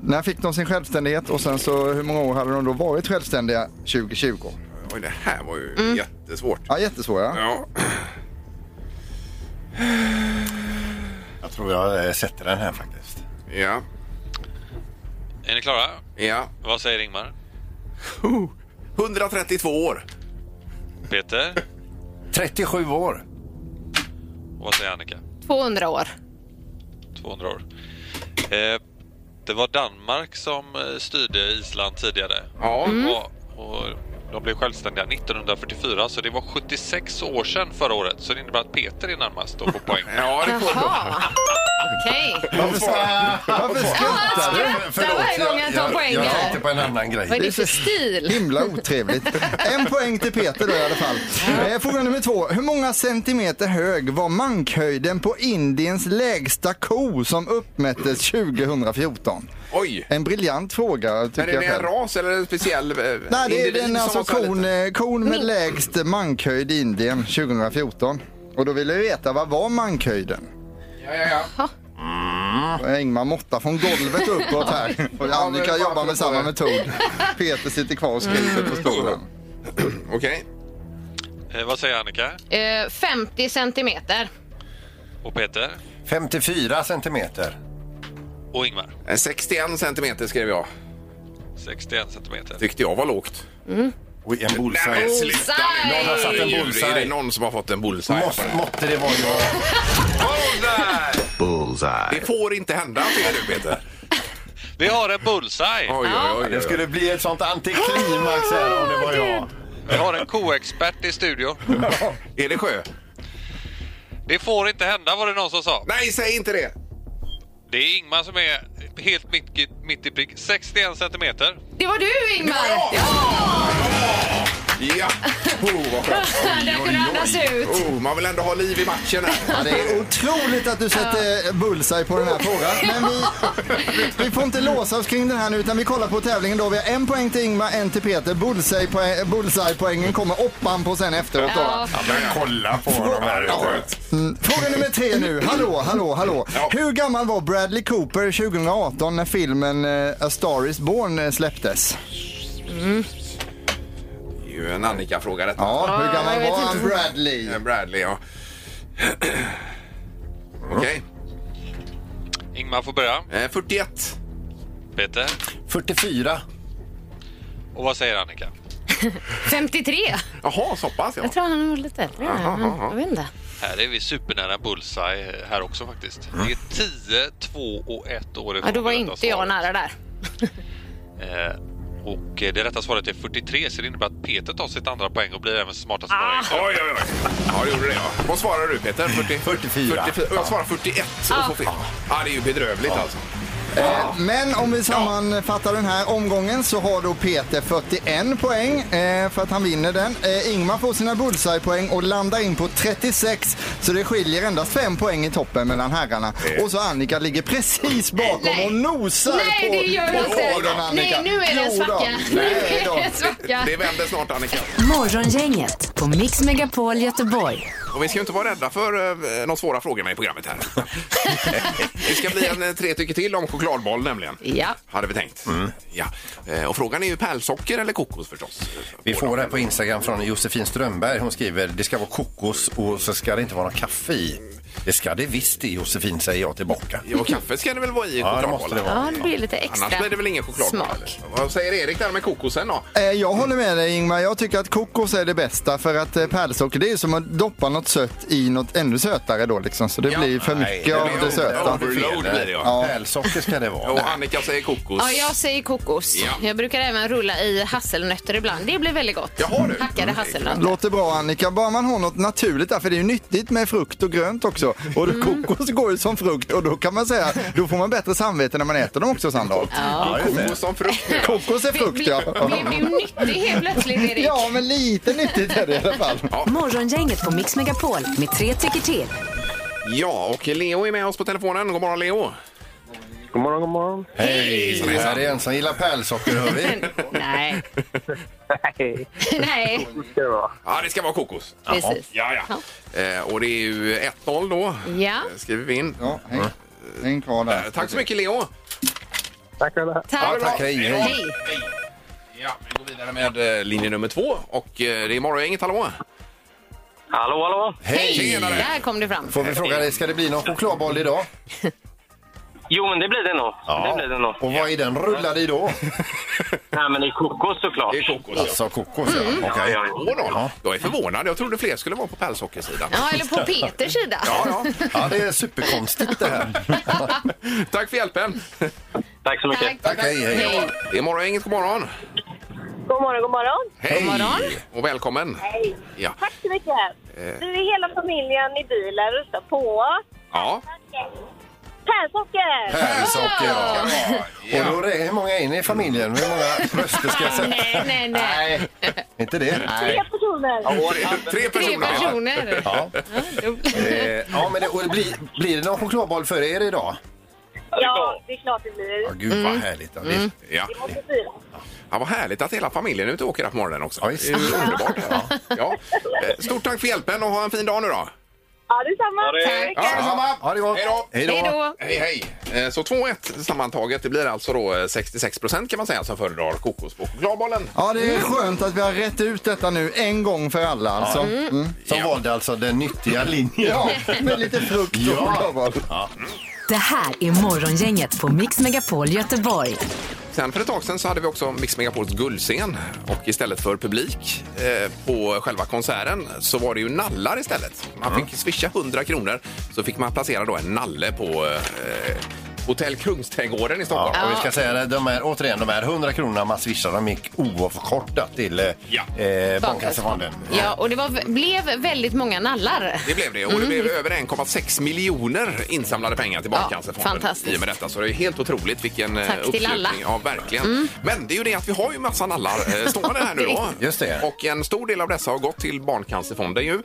Speaker 2: När fick de sin självständighet och sen så hur många år hade de då varit självständiga 2020?
Speaker 1: Oj, det här var ju jättesvårt.
Speaker 2: Ja, jättesvåra.
Speaker 1: Ja.
Speaker 4: Jag tror jag eh, sätter den här faktiskt.
Speaker 1: Ja.
Speaker 9: Är ni klara?
Speaker 1: ja.
Speaker 9: Vad säger Ingmar?
Speaker 1: 132 år.
Speaker 9: Peter?
Speaker 4: 37 år.
Speaker 9: Och vad säger Annika?
Speaker 3: 200 år.
Speaker 9: 200 år. Eh, det var Danmark som eh, styrde Island tidigare.
Speaker 1: Ja.
Speaker 3: Mm.
Speaker 9: Och, och de blev självständiga 1944, så det var 76 år sedan förra året. Så det innebär att Peter är närmast och får poäng.
Speaker 1: Ja, det får du.
Speaker 3: Jaha. Okej.
Speaker 4: Varför ska-
Speaker 2: Varför skrattar du?
Speaker 3: skrattar varje gång jag tar poäng
Speaker 4: Jag, jag
Speaker 3: här.
Speaker 4: tänkte på en annan
Speaker 3: Vad är
Speaker 4: grej.
Speaker 3: det för stil?
Speaker 2: Himla otrevligt. En poäng till Peter då i alla fall. Eh, Fråga nummer två. Hur många centimeter hög var mankhöjden på Indiens lägsta ko som uppmättes 2014?
Speaker 1: Oj!
Speaker 2: En briljant fråga
Speaker 1: Men
Speaker 2: tycker
Speaker 1: är
Speaker 2: jag
Speaker 1: det en
Speaker 2: själv.
Speaker 1: ras eller en speciell eh,
Speaker 2: Nej, det är
Speaker 1: individ
Speaker 2: den
Speaker 1: som
Speaker 2: alltså
Speaker 1: var så här
Speaker 2: kon,
Speaker 1: liten?
Speaker 2: eh, kon med lägst mankhöjd i Indien 2014. Och då vill jag veta, vad var mankhöjden?
Speaker 1: Ja, ja, ja.
Speaker 2: Mm. Ingmar måttar från golvet uppåt här. Och Annika
Speaker 1: men
Speaker 2: jobbar
Speaker 1: varför
Speaker 2: med samma
Speaker 1: då?
Speaker 2: metod. Peter sitter kvar och skriver på stolen.
Speaker 1: Okej.
Speaker 9: Eh, vad säger Annika
Speaker 3: Eh, 50 centimeter.
Speaker 9: och Peter
Speaker 4: 54 centimeter.
Speaker 9: och Ingmar?
Speaker 1: Eh, 61 centimeter skrev jag.
Speaker 9: 61 centimeter.
Speaker 1: Tyckte jag var lågt.
Speaker 4: Oj, en
Speaker 1: Nej,
Speaker 4: bullseye.
Speaker 1: men sluta nu.
Speaker 3: Mm. Bullseye!
Speaker 1: Någon har satt en
Speaker 4: Herregud,
Speaker 1: bullseye. Är det någon som har fått en bullseye? på den
Speaker 4: Måste,
Speaker 1: här?
Speaker 4: måtte det vara jag.
Speaker 1: Bullseye!
Speaker 10: Bullseye.
Speaker 1: Det får inte hända tycker du Peter.
Speaker 9: Vi har en bullseye!
Speaker 1: Oj, oj, oj.
Speaker 4: Det skulle bli ett sånt antiklimax här om det var jag.
Speaker 9: Vi har en koexpert i studion.
Speaker 1: Är det sjö?
Speaker 9: Det får inte hända var det någon som sa.
Speaker 1: Nej, säg inte det!
Speaker 9: Det är Ingmar som är helt mitt, mitt i prick. 61 centimeter.
Speaker 3: Det var du Ingmar!
Speaker 1: Ja! Oh, vad skönt.
Speaker 3: Där kunde du andas ut.
Speaker 1: Oh, man vill ändå ha liv i matchen
Speaker 2: Ja,
Speaker 1: här.
Speaker 2: det är otroligt att du sätter bullseye på den här frågan. Men vi, vi får inte låsa oss kring den här nu utan vi kollar på tävlingen då. Vi har en poäng till Ingmar, en till Peter. Bullseye poäng, bullseye-poängen kommer oppan på sen efteråt då.
Speaker 3: Ja.
Speaker 1: Men kolla på
Speaker 4: honom här,
Speaker 1: Ja,
Speaker 4: vet du.
Speaker 1: skönt.
Speaker 2: Fråga nummer tre nu. Hallå, hallå, hallå.
Speaker 1: Ja.
Speaker 2: Hur gammal var Bradley Cooper 2018 när filmen eh, A Star Is Born eh, släpptes? Oh.
Speaker 3: Mm.
Speaker 1: Det är ju en Annika-fråga detta.
Speaker 2: Ja, hur
Speaker 3: jag
Speaker 2: gammal
Speaker 3: vet
Speaker 2: var
Speaker 3: inte.
Speaker 2: han Bradley?
Speaker 1: Eh, Bradley, ja. Okej.
Speaker 9: Ingmar får börja.
Speaker 1: Eh, 41.
Speaker 9: Peter.
Speaker 4: 44.
Speaker 9: Och vad säger Annika?
Speaker 3: 53.
Speaker 1: Jaha, så pass ja.
Speaker 3: Jag tror han var lite äldre. Mm, Jag vet inte.
Speaker 9: Här är vi supernära bullseye eh, här också faktiskt.
Speaker 1: Mm.
Speaker 9: Det är 10, 2 och 1 år ifrån
Speaker 3: Ja, då var
Speaker 9: det rätta
Speaker 3: inte jag
Speaker 9: svaret.
Speaker 3: nära där.
Speaker 9: Eh, och eh, det rätta svaret är 43 så det innebär att Peter tar sitt andra poäng och blir även smartast på ah.
Speaker 1: Oj, oj, oj. Ja, det gjorde det ja. Vad svarar du Peter? 40,
Speaker 4: 44.
Speaker 1: Och Jag svarar 41 och får fel. Ja, det är ju bedrövligt alltså.
Speaker 2: Eh, Men om vi sammanfattar den här omgången så har då Peter 41 poäng eh, för att han vinner den. Eh, Ingmar får sina bullseye-poäng och landar in på 36 så det skiljer endast 5 poäng i toppen mellan herrarna. Och så Annika ligger precis bakom
Speaker 3: Nej.
Speaker 2: och nosar
Speaker 3: Nej,
Speaker 2: på,
Speaker 3: det gör jag
Speaker 2: på
Speaker 3: inte.
Speaker 2: orden, Annika.
Speaker 3: Nej, nu är det en
Speaker 2: Jo då.
Speaker 3: svacka. Nu
Speaker 2: Nej
Speaker 3: är det
Speaker 2: då.
Speaker 3: en svacka.
Speaker 1: Det vänder snart Annika.
Speaker 5: Morgongänget på Mix Megapol Göteborg.
Speaker 1: Och vi ska ju inte vara rädda för eh, de svåra frågorna i programmet här. det ska bli en eh, tre tycker till om chokladboll nämligen.
Speaker 3: Ja.
Speaker 1: Hade vi tänkt.
Speaker 4: Mm.
Speaker 1: Ja. Eh, Och frågan är ju pärlsocker eller kokos förstås.
Speaker 4: Vi får det här på Instagram från Josefin Strömberg. Hon skriver det ska vara kokos och så ska det inte vara någon kaffe i. Det ska det visst det Josefin, säger jag tillbaka.
Speaker 1: Ja, och kaffe ska det väl vara i
Speaker 4: Ja, det
Speaker 1: chokladbollen?
Speaker 4: måste det vara.
Speaker 3: Ja, det blir lite extra
Speaker 1: Annars blir det väl ingen chokladboll?
Speaker 3: smak.
Speaker 1: eller? Vad säger Erik där med kokosen då?
Speaker 2: Eh, Jag håller med dig Ingmar. Jag tycker att kokos är det bästa för att eh, pärlsocker det är ju som att doppa något sött i något ännu sötare då liksom. Så det blir för
Speaker 4: nej,
Speaker 2: mycket av
Speaker 1: blir
Speaker 2: det
Speaker 1: over-
Speaker 2: söta.
Speaker 1: Overload blir det ja.
Speaker 2: Ja.
Speaker 4: Pärlsocker ska det vara.
Speaker 1: Och Annika säger kokos.
Speaker 3: Ja, jag säger kokos.
Speaker 1: Ja.
Speaker 3: Jag brukar även rulla i hasselnötter ibland. Det blir väldigt gott.
Speaker 1: Jaha, du.
Speaker 3: Hackade
Speaker 1: Mm.
Speaker 3: hasselnötter.
Speaker 2: Låter bra Annika, bara man har något naturligt där, för det är ju nyttigt med frukt och grönt också. Och då kokos går ju som frukt och då kan man säga, då får man bättre samvete när man äter dem också Sandholt.
Speaker 1: Ja, kokos som frukt nu.
Speaker 2: Kokos är frukt
Speaker 3: Bli-
Speaker 2: ja.
Speaker 3: Blev du nyttig helt plötsligt, Erik?
Speaker 2: Ja, men lite nyttigt är det i alla fall.
Speaker 5: Morgongänget på Mix Megapol med tre tycker till.
Speaker 1: Ja, och Leo är med oss på telefonen. God morgon Leo!
Speaker 7: God morgon, god morgon.
Speaker 4: Hej! Det här är en som gillar pärlsocker, hör vi.
Speaker 3: Nej.
Speaker 7: Hej.
Speaker 3: Nej,
Speaker 7: Hur ska det vara?
Speaker 1: Ja, det ska vara kokos.
Speaker 3: precis.
Speaker 1: Ja, ja. Eh, och det är ju 1-0 då.
Speaker 3: Ja,
Speaker 1: Eh, Skriver vi in.
Speaker 2: Ja, häng, häng kvar
Speaker 1: Eh,
Speaker 2: där.
Speaker 1: Tack så mycket Leo!
Speaker 7: Tack själva.
Speaker 3: tack.
Speaker 4: Tack, hej, hej.
Speaker 3: Hej.
Speaker 1: Ja, vi går vidare med eh, linje nummer två och eh, det är morgongänget, hallå!
Speaker 7: Hallå, hallå.
Speaker 3: Hej. Där kom du fram.
Speaker 4: Får vi fråga dig, ska det bli någon chokladboll idag?
Speaker 7: Jo, men det blir det nog. Det blir det nog.
Speaker 4: Och vad är den rullad i då?
Speaker 7: Nej, men det är kokos såklart.
Speaker 1: Det är kokos. ja.
Speaker 4: Alltså kokos, ja.
Speaker 1: Mm.
Speaker 4: Okej.
Speaker 7: Ja, ja.
Speaker 1: 2-0. Jag är förvånad, jag trodde fler skulle vara på pärlsockersidan.
Speaker 3: Ja, eller på Peters sida.
Speaker 1: Ja, ja.
Speaker 4: Ja, det är superkonstigt det här.
Speaker 1: Tack för hjälpen!
Speaker 6: Tack så mycket.
Speaker 4: Tack, hej, hej.
Speaker 1: Det är Morgongänget, god morgon!
Speaker 10: God morgon, god morgon.
Speaker 1: Hej!
Speaker 3: God morgon.
Speaker 1: Och välkommen!
Speaker 10: Hej.
Speaker 1: Ja. eh.
Speaker 10: Tack så mycket. Vi är hela familjen i bilen rusar på.
Speaker 1: Ja.
Speaker 10: Pärlsocker!
Speaker 4: Pärlsocker, ja.
Speaker 1: Ja.
Speaker 4: Och då, är- hur många är ni i familjen? Hur många röster ska jag sätta?
Speaker 3: Nej, nej, nej.
Speaker 4: Inte det?
Speaker 10: Tre personer.
Speaker 1: Tre,
Speaker 3: Tre
Speaker 1: tre personer.
Speaker 3: personer.
Speaker 1: ja.
Speaker 4: Ja.
Speaker 3: Ja, dubbla.
Speaker 4: Eh, ja, men det, och det blir, blir det någon chokladboll för er idag?
Speaker 10: Ja, det är klart det
Speaker 4: Ja,
Speaker 10: blir.
Speaker 4: gud
Speaker 3: Mm.
Speaker 4: vad härligt. Ja, det-
Speaker 1: Mm. Ja.
Speaker 10: Vi måste fira.
Speaker 1: ja, vad härligt att hela familjen är ute och åker här på morgonen också.
Speaker 4: Ja,
Speaker 1: det
Speaker 4: visst.
Speaker 1: är ju underbart. Ja. Ja. Eh, Stort tack för hjälpen och ha en fin dag nu då.
Speaker 10: Ja, detsamma.
Speaker 1: Ja, detsamma.
Speaker 4: Ha det gott.
Speaker 1: Hej då.
Speaker 4: Hej
Speaker 3: Hej då.
Speaker 1: Hej, hej! Eh, Så 2-1 sammantaget. Det blir alltså då eh, 66 procent kan man säga som föredrar kokos på chokladbollen.
Speaker 2: Ja, det är skönt att vi har rätt ut detta nu en gång för alla alltså. Mm.
Speaker 4: Som valde alltså den nyttiga linjen.
Speaker 2: Ja, med lite frukt och chokladboll.
Speaker 5: Det här är Morgongänget på Mix Megapol Göteborg.
Speaker 1: Sen för ett tag sedan så hade vi också Mix Megapols guldscen och istället för publik eh, på själva konserten så var det ju nallar istället. Man fick swisha 100 kronor så fick man placera då en nalle på eh, Hotell Kungsträdgården i Stockholm.
Speaker 4: Ja, och vi ska säga det, de här, återigen, de här 100 kronorna man swishar, de gick oavkortat till eh,
Speaker 1: Ja.
Speaker 4: eh, Barncancerfonden.
Speaker 3: Ja, och det var, blev väldigt många nallar.
Speaker 1: Det blev det och det blev över 1,6 miljoner insamlade pengar till Barncancerfonden.
Speaker 3: Mm. Ja, fantastiskt.
Speaker 1: I och med detta. Så det är helt otroligt vilken eh,
Speaker 3: Tack till
Speaker 1: uppslutning.
Speaker 3: alla. Mm.
Speaker 1: Ja, verkligen. Men det är ju det att vi har ju massa nallar eh, stående här nu då.
Speaker 4: Just det.
Speaker 1: Och en stor del av dessa har gått till Barncancerfonden ju.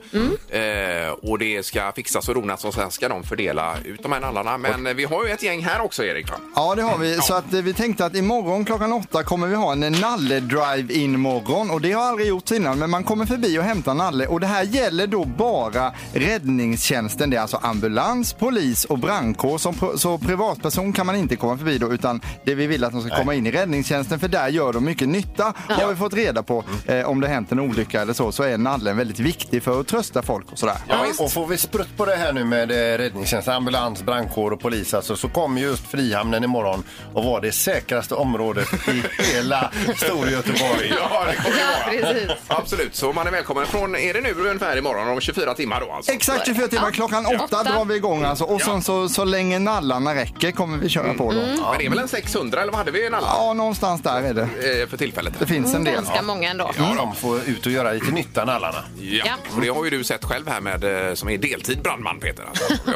Speaker 3: Mm.
Speaker 1: Eh, och det ska fixas och donas och sen ska de fördela ut de här nallarna. Men eh, vi har ju ett gäng här också Erik. va?
Speaker 2: Ja, det har vi. Så att eh, vi tänkte att imorgon klockan åtta kommer vi ha en eh, nalle-drive-in morgon och det har aldrig gjorts innan, men man kommer förbi och hämtar nalle och det här gäller då bara räddningstjänsten. Det är alltså ambulans, polis och brandkår. Som pr- så privatperson kan man inte komma förbi då, utan det vi vill att de ska komma in i räddningstjänsten för där gör de mycket nytta. Har vi fått reda på eh, om det hänt en olycka eller så, så är nallen väldigt viktig för att trösta folk och sådär.
Speaker 4: Ja, och får vi sprutt på det här nu med eh, räddningstjänst, ambulans, brandkår och polis alltså, så kommer just Frihamnen imorgon och var det säkraste området i hela Storgöteborg.
Speaker 1: Ja, det kommer
Speaker 3: Ja, precis.
Speaker 1: Absolut, så man är välkommen från, är det nu ungefär imorgon om 24 timmar då alltså?
Speaker 2: Exakt 24 timmar, klockan åtta
Speaker 3: Åtta.
Speaker 2: drar vi igång alltså. Och sen så, så länge nallarna räcker kommer vi
Speaker 3: Mm.
Speaker 2: köra på dem.
Speaker 1: Men det är väl en 600 eller vad hade vi en alla
Speaker 2: Ja, någonstans där är det.
Speaker 1: eh, för tillfället?
Speaker 2: Det finns en del.
Speaker 3: Mm,
Speaker 2: Mm.
Speaker 3: Ganska många ändå.
Speaker 4: Ja, de får ut och göra lite nytta nallarna.
Speaker 1: Ja,
Speaker 3: Ja.
Speaker 1: och det har ju du sett själv här med eh, som är deltid brandman Peter. Alltså. Ja.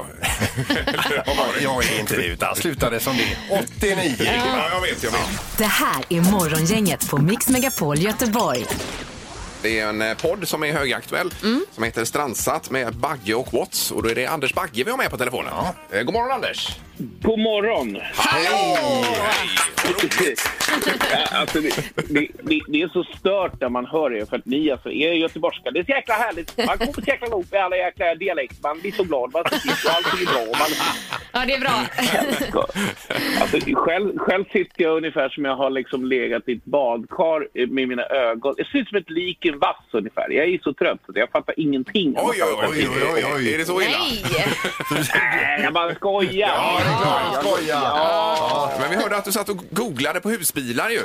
Speaker 4: Jag är inte det utan slutade som det. 89.
Speaker 1: ja, jag vet, jag vet.
Speaker 5: Det här är Morgongänget på Mix Megapol Göteborg.
Speaker 1: Det är en eh, podd som är högaktuell
Speaker 3: Mm.
Speaker 1: som heter Strandsatt med Bagge och Watts och då är det Anders Bagge vi har med på telefonen. Eh, God morgon Anders!
Speaker 6: God morgon!
Speaker 1: Hej!
Speaker 6: Ja, alltså, det, det, det, det är så stört när man hör er, för att ni alltså, är göteborgska. Det är så jäkla härligt. Man kommer så jäkla ihop med alla jäkla dialekter. Man blir så glad. Man sitter och allt är bra. Och man,
Speaker 3: Ja, det är bra.
Speaker 6: alltså, själv, själv sitter jag ungefär som jag har liksom legat i ett badkar eh, med mina ögon. Jag ser ut som ett lik i en vass ungefär. Jag är så trött så jag fattar ingenting.
Speaker 1: Oj, oj, oj, oj, oj,
Speaker 4: oj.
Speaker 1: Är det så illa?
Speaker 3: Nej!
Speaker 6: Nej, jag bara skojar.
Speaker 4: Ja, det är klart. Skoja.
Speaker 1: Ja, Men vi hörde att du satt och googlade på husbilar ju.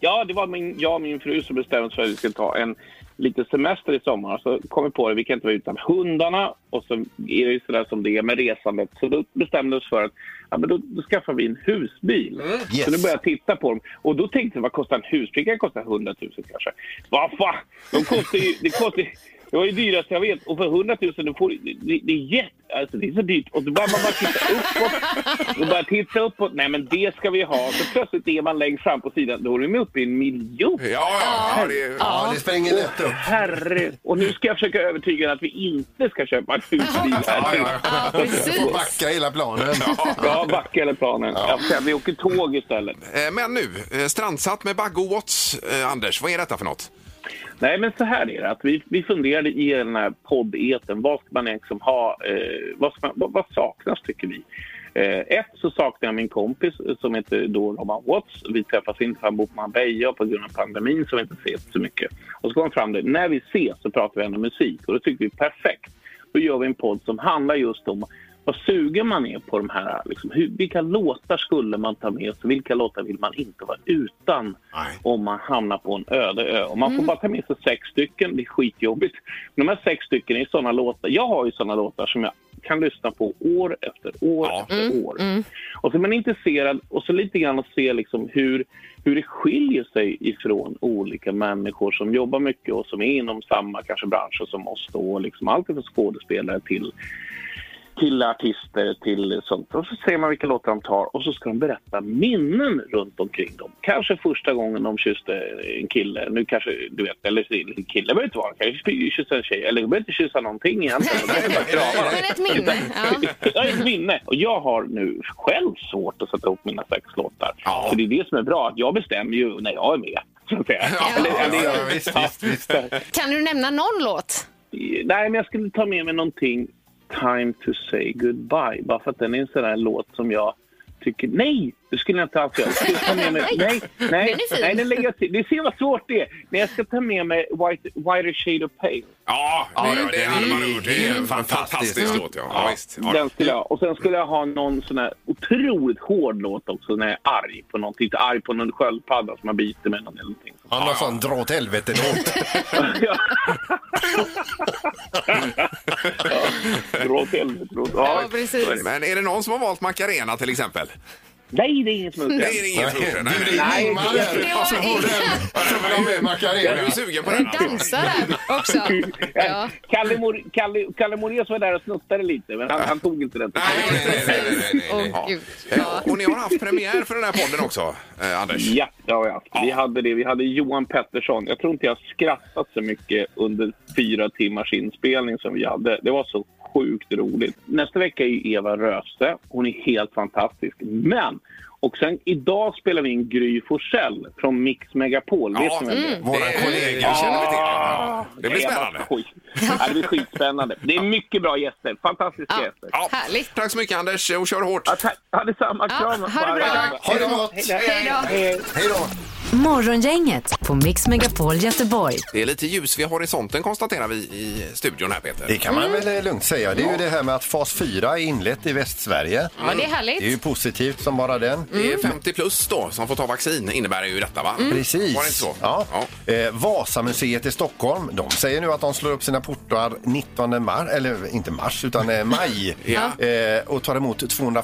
Speaker 6: Ja, det var min, jag och min fru som bestämde oss för att vi skulle ta en liten semester i sommar. Så kom vi på det, vi kan inte vara utan hundarna. Och så är det ju sådär som det är med resandet. Så då bestämde vi oss för att ja, men då, då skaffar vi en husbil.
Speaker 4: yes.
Speaker 6: Så då började jag titta på dem. Och då tänkte jag, vad kostar en husbil? Det kan kosta 100 000 kanske. Vad fan, de kostar ju... Det kostar ju det var ju dyrast jag vet. Och för 100 000, du får, det, det, är jätt, alltså, det är så dyrt. Och då börjar man bara titta uppåt. Då börjar titta uppåt. Nej, men det ska vi ha. Så plötsligt är man längst fram på sidan. Då är man uppe i en miljon.
Speaker 1: Ja, ja, ja, det,
Speaker 4: Ja, det spränger lätt upp.
Speaker 6: Herre. Och nu ska jag försöka övertyga er att vi inte ska köpa en husbil här. nu.
Speaker 3: Ja, precis.
Speaker 4: Får Backa hela planen.
Speaker 6: Ja, backa hela planen. Ja. vi åker tåg istället.
Speaker 1: Eh, Men nu, eh, Strandsatt med Bagge och Watts, eh, Anders, vad är detta för något?
Speaker 6: Nej, men så här är det. Att vi, vi funderade i den här poddeten. Vad ska man liksom ha? Eh, vad, ska man, vad, vad saknas, tycker vi? Eh, ett, så saknar jag min kompis eh, som heter då Roman Watts. Vi träffas inte, för han bor på Marbella och på grund av pandemin så har vi inte ses så mycket. Och så kom han fram det. När vi ses så pratar vi ändå musik och då tycker vi perfekt. Då gör vi en podd som handlar just om vad sugen man är på de här, liksom, hur, vilka låtar skulle man ta med sig, vilka låtar vill man inte vara utan om man hamnar på en öde ö. Och man får bara ta med sig sex stycken, det är skitjobbigt. Men de här sex stycken är såna låtar, jag har ju såna låtar som jag kan lyssna på år efter år
Speaker 1: Ja.
Speaker 6: efter år. Och så är man intresserad och så lite grann att se liksom hur, hur det skiljer sig ifrån olika människor som jobbar mycket och som är inom samma kanske bransch som oss då. Liksom allt från skådespelare till till artister, till sånt. Och så ser man vilka låtar de tar och så ska de berätta minnen runt omkring dem. Kanske första gången de kysste en kille, nu kanske du vet, eller en kille behöver inte vara, kanske kyssa en tjej, eller du behöver inte kyssa någonting egentligen. Det är bara kramar.
Speaker 3: Men ett minne. Ja.
Speaker 6: Jag är ett minne. Och jag har nu själv svårt att sätta ihop mina sex låtar.
Speaker 1: Ja.
Speaker 6: Så det är det som är bra, att jag bestämmer ju när jag är med. Så att säga. Eller- eller-
Speaker 4: ja, visst, visst, visst.
Speaker 3: Kan du nämna någon låt?
Speaker 6: Nej, men jag skulle ta med mig någonting Time to say goodbye. Bara för att den är en sån där låt som jag tycker... Nej! Det skulle jag inte alls göra. Jag skulle ta med mig, nej, nej,
Speaker 3: Den är fin.
Speaker 6: nej, den lägger jag till. Ni ser vad svårt det är. Men jag ska ta med mig White, Whiter Shade of Pale.
Speaker 1: Ja,
Speaker 4: Ja,
Speaker 1: det, det hade man gjort. Det är
Speaker 4: Mm,
Speaker 1: en fantastisk,
Speaker 4: fantastisk
Speaker 1: låt. Ja. Ja, visst. Ja.
Speaker 6: Den skulle jag, och sen skulle jag ha någon sån här otroligt hård låt också när jag är arg på någonting. Inte Arg på någon sköldpadda som man biter med någon eller någonting.
Speaker 4: Han har sån dra åt helvete-låt.
Speaker 6: Ja. ja. Dra åt helvete. dra åt- Ja.
Speaker 3: Ja, precis.
Speaker 1: Men är det någon som har valt Macarena till exempel?
Speaker 6: Nej, det är inget smutsigt.
Speaker 1: Det är ingen Alltså, som har gjort det. Nej, nej.
Speaker 4: Nej, Ingmar där.
Speaker 3: var
Speaker 4: Och så får
Speaker 3: Ingmar.
Speaker 4: den- och så får de med
Speaker 1: Jag är
Speaker 4: Macarena.
Speaker 1: ju sugen på
Speaker 3: Du
Speaker 1: den. alltså.
Speaker 3: dansar här också. Ja.
Speaker 6: Kalle, Mor- Kalle, Kalle Moraeus var där och snuttade lite, men han, han tog inte den.
Speaker 1: Nej, nej, nej, nej, nej, nej, nej.
Speaker 3: Åh,
Speaker 1: Ja.
Speaker 3: gud.
Speaker 1: Eh, Och ni har haft premiär för den här podden också, eh, Anders?
Speaker 6: Ja, det har vi haft. Vi hade det. Vi hade Johan Pettersson. Jag tror inte jag skrattat så mycket under fyra timmars inspelning som vi hade. Det var så sjukt roligt. Nästa vecka är ju Eva Röse. Hon är helt fantastisk. Men, och sen idag spelar vi in Gry Forssell från Mix Megapol. Vet ni vem mm. det är?
Speaker 1: våra kollegor känner vi till. Ja, Det blir
Speaker 6: Eva,
Speaker 1: spännande.
Speaker 6: skoj. Ja, det blir skitspännande. Det är mycket bra gäster. Fantastiska
Speaker 3: Ja.
Speaker 6: gäster.
Speaker 1: Ja.
Speaker 3: Härligt.
Speaker 1: Tack så mycket Anders och kör hårt.
Speaker 6: Ja, tack. Ja, detsamma. Kram.
Speaker 3: ha det bra.
Speaker 4: Ha det gott!
Speaker 3: Hej då.
Speaker 4: Hej då!
Speaker 5: Morgongänget på Mix Megapol Göteborg.
Speaker 1: Det är lite ljus vid horisonten konstaterar vi i studion här
Speaker 4: Det
Speaker 1: Peter.
Speaker 4: kan man väl eh, lugnt säga. Det är ju det här med att fas 4 är inlett i Västsverige.
Speaker 3: Ja, det är
Speaker 4: Det är ju
Speaker 3: härligt. Mm.
Speaker 4: positivt som bara den.
Speaker 1: Det är 50 plus då som får ta vaccin innebär ju detta va?
Speaker 4: Precis.
Speaker 1: Mm. Var det inte så?
Speaker 4: Ja. Eh, Vasamuseet i Stockholm de säger nu att de slår upp sina portar 19 mars, eller inte mars, utan eh, maj
Speaker 1: Ja.
Speaker 4: eh, och tar emot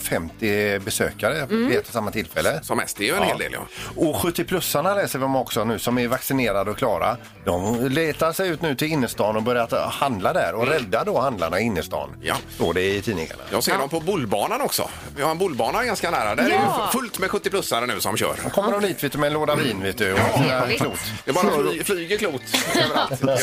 Speaker 4: 250 besökare vid ett och samma tillfälle.
Speaker 1: Mm. Som mest, det är ju en hel del ja.
Speaker 4: Och 70-plussarna läser vi om också nu som är vaccinerade och klara. De letar sig ut nu till innerstan och börjar att handla där och rädda då handlarna i innerstan.
Speaker 1: Mm. Ja.
Speaker 4: Står det i tidningarna.
Speaker 1: Jag ser dem på bollbanan också. Vi har en bollbana ganska nära. Där är
Speaker 3: Ja.
Speaker 1: ju fullt med 70-plussare nu som kör.
Speaker 4: Kommer de dit vet du, med en låda vin vet du, och sina
Speaker 3: Trevligt.
Speaker 4: klot.
Speaker 1: Det bara fly, flyger klot överallt.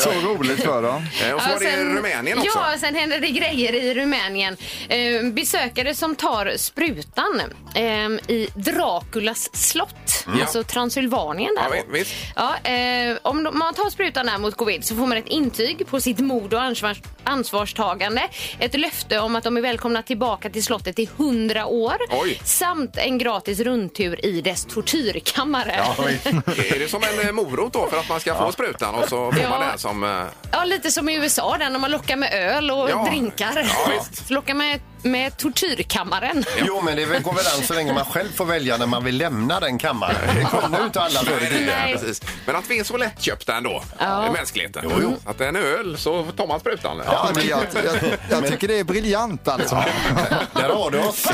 Speaker 2: Så roligt för dem.
Speaker 1: Eh, Och så var
Speaker 3: Ja,
Speaker 1: det Rumänien också.
Speaker 3: Alltså, Ja, sen händer det grejer i Rumänien. Eh, besökare som tar sprutan eh, i Draculas slott, alltså Transylvanien.
Speaker 1: Mm. Ja,
Speaker 3: Där.
Speaker 1: vi- visst.
Speaker 3: Ja, eh, om de- man tar sprutan där mot covid så får man ett intyg på sitt mod och ansvars, ansvarstagande. Ett löfte om att de är välkomna tillbaka till slottet i hundra år.
Speaker 1: Oj.
Speaker 3: Samt en gratis rundtur i dess tortyrkammare.
Speaker 1: Är det som en eh, morot då för att man ska få sprutan och så får
Speaker 3: Ja.
Speaker 1: man det här som... eh,
Speaker 3: Ja, lite som i USA där när man lockar med öl och
Speaker 1: Ja.
Speaker 3: drinkar.
Speaker 1: Ja, visst.
Speaker 3: Så lockar man med tortyrkammaren.
Speaker 4: Jo, men det väl- går väl an så länge man själv får välja när man vill lämna den kammaren. Det kunde ju inte alla förr i tiden.
Speaker 3: Nej.
Speaker 1: Precis. Men att vi är så lättköpta ändå,
Speaker 3: Ja.
Speaker 1: i eh, mänskligheten. Att en öl så tar man sprutan.
Speaker 2: Ja, men jag, jag, jag tycker det är briljant alltså.
Speaker 4: Där har du oss.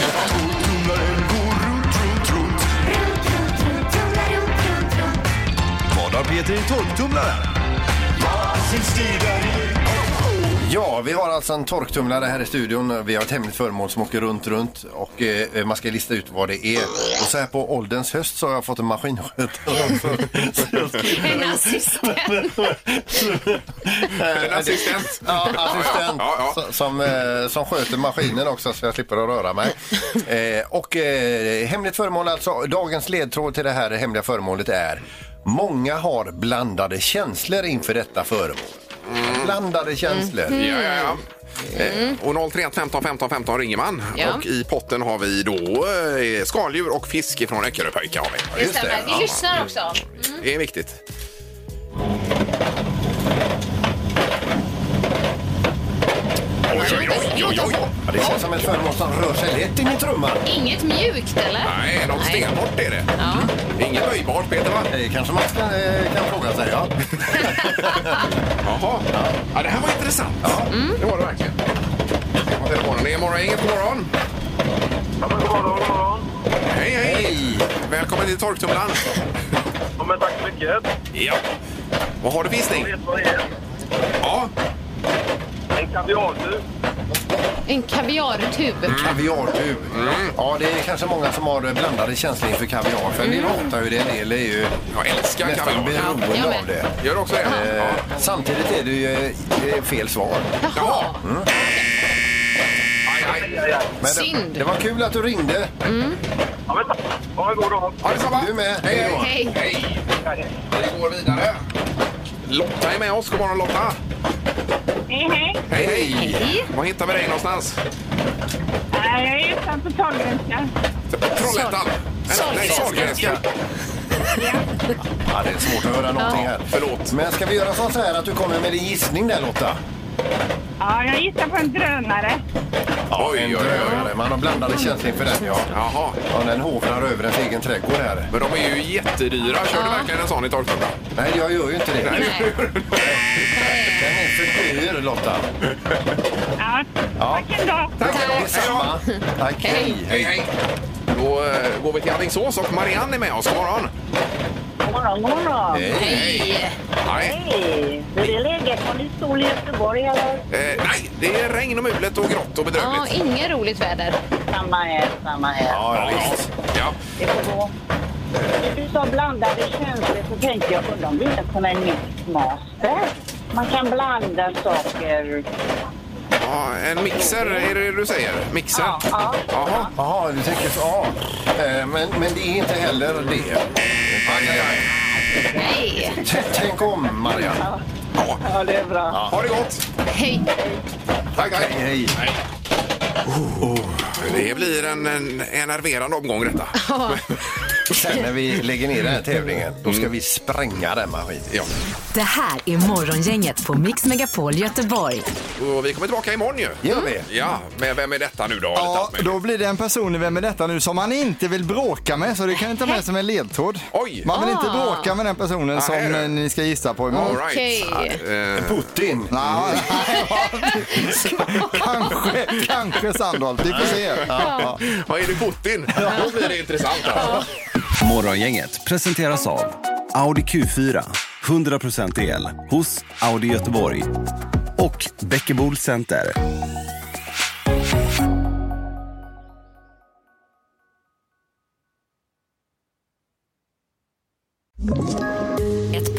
Speaker 11: Vad har Peter i torktumlaren?
Speaker 4: Ja, vi har alltså en torktumlare här i studion. Vi har ett hemligt föremål som åker runt, runt och eh, man ska lista ut vad det är. Och så här på ålderns höst så har jag fått en maskinskötare också. Så jag ska-
Speaker 3: En assistent.
Speaker 1: En assistent. Eh,
Speaker 4: Ja, assistent
Speaker 1: Ja, ja, ja.
Speaker 4: so- Som, eh, som sköter maskinen också så jag slipper att röra mig. Eh, och eh, hemligt föremål alltså. Dagens ledtråd till det här hemliga föremålet är Många har blandade känslor inför detta föremål.
Speaker 1: Mm.
Speaker 4: Blandade känslor.
Speaker 1: Ja, ja, ja. Eh, Och 031 15 15 15 ringer man.
Speaker 3: Mm. Ja.
Speaker 1: Och i potten har vi då eh, skaldjur och fisk från Öckeröpöjka. har vi.
Speaker 3: Det stämmer. Vi lyssnar också.
Speaker 1: Det är viktigt.
Speaker 4: Eh,
Speaker 1: Oj, oj, oj.
Speaker 4: Ja, det känns som ett föremål som rör sig lätt in i trumman.
Speaker 3: Inget mjukt eller?
Speaker 1: Nej, något stenhårt är det.
Speaker 3: Ja.
Speaker 1: Inget böjbart, Peter, va?
Speaker 4: Det kanske man ska, eh, kan fråga sig. Ja.
Speaker 3: Mm.
Speaker 1: Jaha. Ja, det här var intressant. Ja, det var det verkligen. telefonen. Det är Morgongänget. God morgon! Hej, hej! Välkommen till torktumlaren.
Speaker 7: Ja, men tack så mycket.
Speaker 1: Ja. Vad har du för gissning?
Speaker 7: Vet vad det är?
Speaker 1: Ja.
Speaker 7: En kaviartub.
Speaker 3: En kaviartub.
Speaker 4: Kaviartub. Ja, det är kanske många som har blandade känslor inför kaviar. För en del hatar ju det, en del är ju
Speaker 1: Jag älskar
Speaker 4: nästan
Speaker 1: kaviar.
Speaker 4: beroende
Speaker 3: Mm. Ja, men-
Speaker 4: av det.
Speaker 1: Gör du också det?
Speaker 4: Eh, Samtidigt är det ju eh, fel svar. Mm.
Speaker 3: Jaha,
Speaker 1: Aj, aj.
Speaker 4: Men
Speaker 3: Synd. Mm.
Speaker 4: Det, det var kul att du ringde.
Speaker 7: Ja, men tack. Ha en god dag.
Speaker 1: Ha detsamma!
Speaker 4: Du med.
Speaker 1: Hej, hej!
Speaker 3: hej.
Speaker 1: Hej! Vi går vidare. Lotta är med oss. God morgon Lotta!
Speaker 10: Hej, hej.
Speaker 1: Hej, hej!
Speaker 3: Hej.
Speaker 1: Var hittar vi dig någonstans?
Speaker 10: Nej, jag är utanför Trollhättan.
Speaker 1: Trollhättan!
Speaker 3: Sol-
Speaker 1: Nej, Sahlgrenska.
Speaker 4: Ja, det är svårt att höra någonting här.
Speaker 1: Förlåt.
Speaker 4: Men ska vi göra så här att du kommer med din gissning där Lotta?
Speaker 10: Ja, jag gissar på en drönare.
Speaker 1: Oj, oj, oj.
Speaker 4: Drönare. Man har blandade känslor inför den ja.
Speaker 1: Jaha.
Speaker 4: Ja, den hovrar över ens egen trädgård här.
Speaker 1: Men de är ju jättedyra. Kör du verkligen en sån i torktumlaren?
Speaker 4: Nej, jag gör ju inte det.
Speaker 3: Nej.
Speaker 4: Den är för dyr Lotta.
Speaker 10: Ja, tack ändå.
Speaker 4: Tack. Detsamma. Tack. Hej.
Speaker 1: Hej, hej! Då eh, går vi till Alingsås och Marianne är med oss. God morgon!
Speaker 10: God morgon, god morgon.
Speaker 3: hej.
Speaker 1: Nej,
Speaker 10: Hej. Hur är läget? Har ni sol i Göteborg eller?
Speaker 1: eh, nej det är regn och mulet och grått och
Speaker 3: Ja,
Speaker 1: bedrövligt.
Speaker 3: inget roligt väder.
Speaker 10: Samma här, samma här.
Speaker 4: Ja, ja, visst.
Speaker 1: Ja.
Speaker 10: Det får gå. När du sa blandade känslor så tänkte jag, undrar om det inte kommer en mixmaster? Man kan blanda saker.
Speaker 1: Ja, en mixer är det du säger? Mixer?
Speaker 10: Ja, ja.
Speaker 1: Jaha.
Speaker 4: Jaha, du tänker så. Ja. Eh, Men, men det är inte heller det.
Speaker 1: Aj, aj, aj.
Speaker 3: Nej.
Speaker 4: T- Tänk om, Marianne.
Speaker 7: Ja, det är bra.
Speaker 1: Ha det gott!
Speaker 3: Hej.
Speaker 1: Tack,
Speaker 4: Hej,
Speaker 1: tack.
Speaker 4: hej.
Speaker 1: Oh, Det blir en, en enerverande omgång detta.
Speaker 4: Sen när vi lägger ner den här tävlingen, då ska vi spränga den maskinen.
Speaker 1: Ja.
Speaker 5: Det här är Morgongänget på Mix Megapol Göteborg.
Speaker 1: Och vi kommer tillbaka imorgon ju.
Speaker 4: Gör vi?
Speaker 1: Ja, men vem är detta nu då?
Speaker 2: Ja,
Speaker 1: Lite allt möjligt.
Speaker 2: då blir det en person i Vem är detta nu som man inte vill bråka med så det kan ni ta med som en ledtråd.
Speaker 1: Oj.
Speaker 2: Man vill inte
Speaker 3: Ah.
Speaker 2: bråka med den personen som
Speaker 1: Nej, du.
Speaker 2: eh, ni ska gissa på imorgon.
Speaker 1: All right.
Speaker 3: Okej.
Speaker 1: Eh,
Speaker 4: Putin.
Speaker 2: Ja, kanske, kanske Sandholt. Vi får se. Ja.
Speaker 1: Vad är det Putin? Då blir det intressant. Alltså.
Speaker 11: Morgongänget presenteras av Audi Q4. 100% el hos Audi Göteborg. Och Bäckebol Center.
Speaker 5: Ett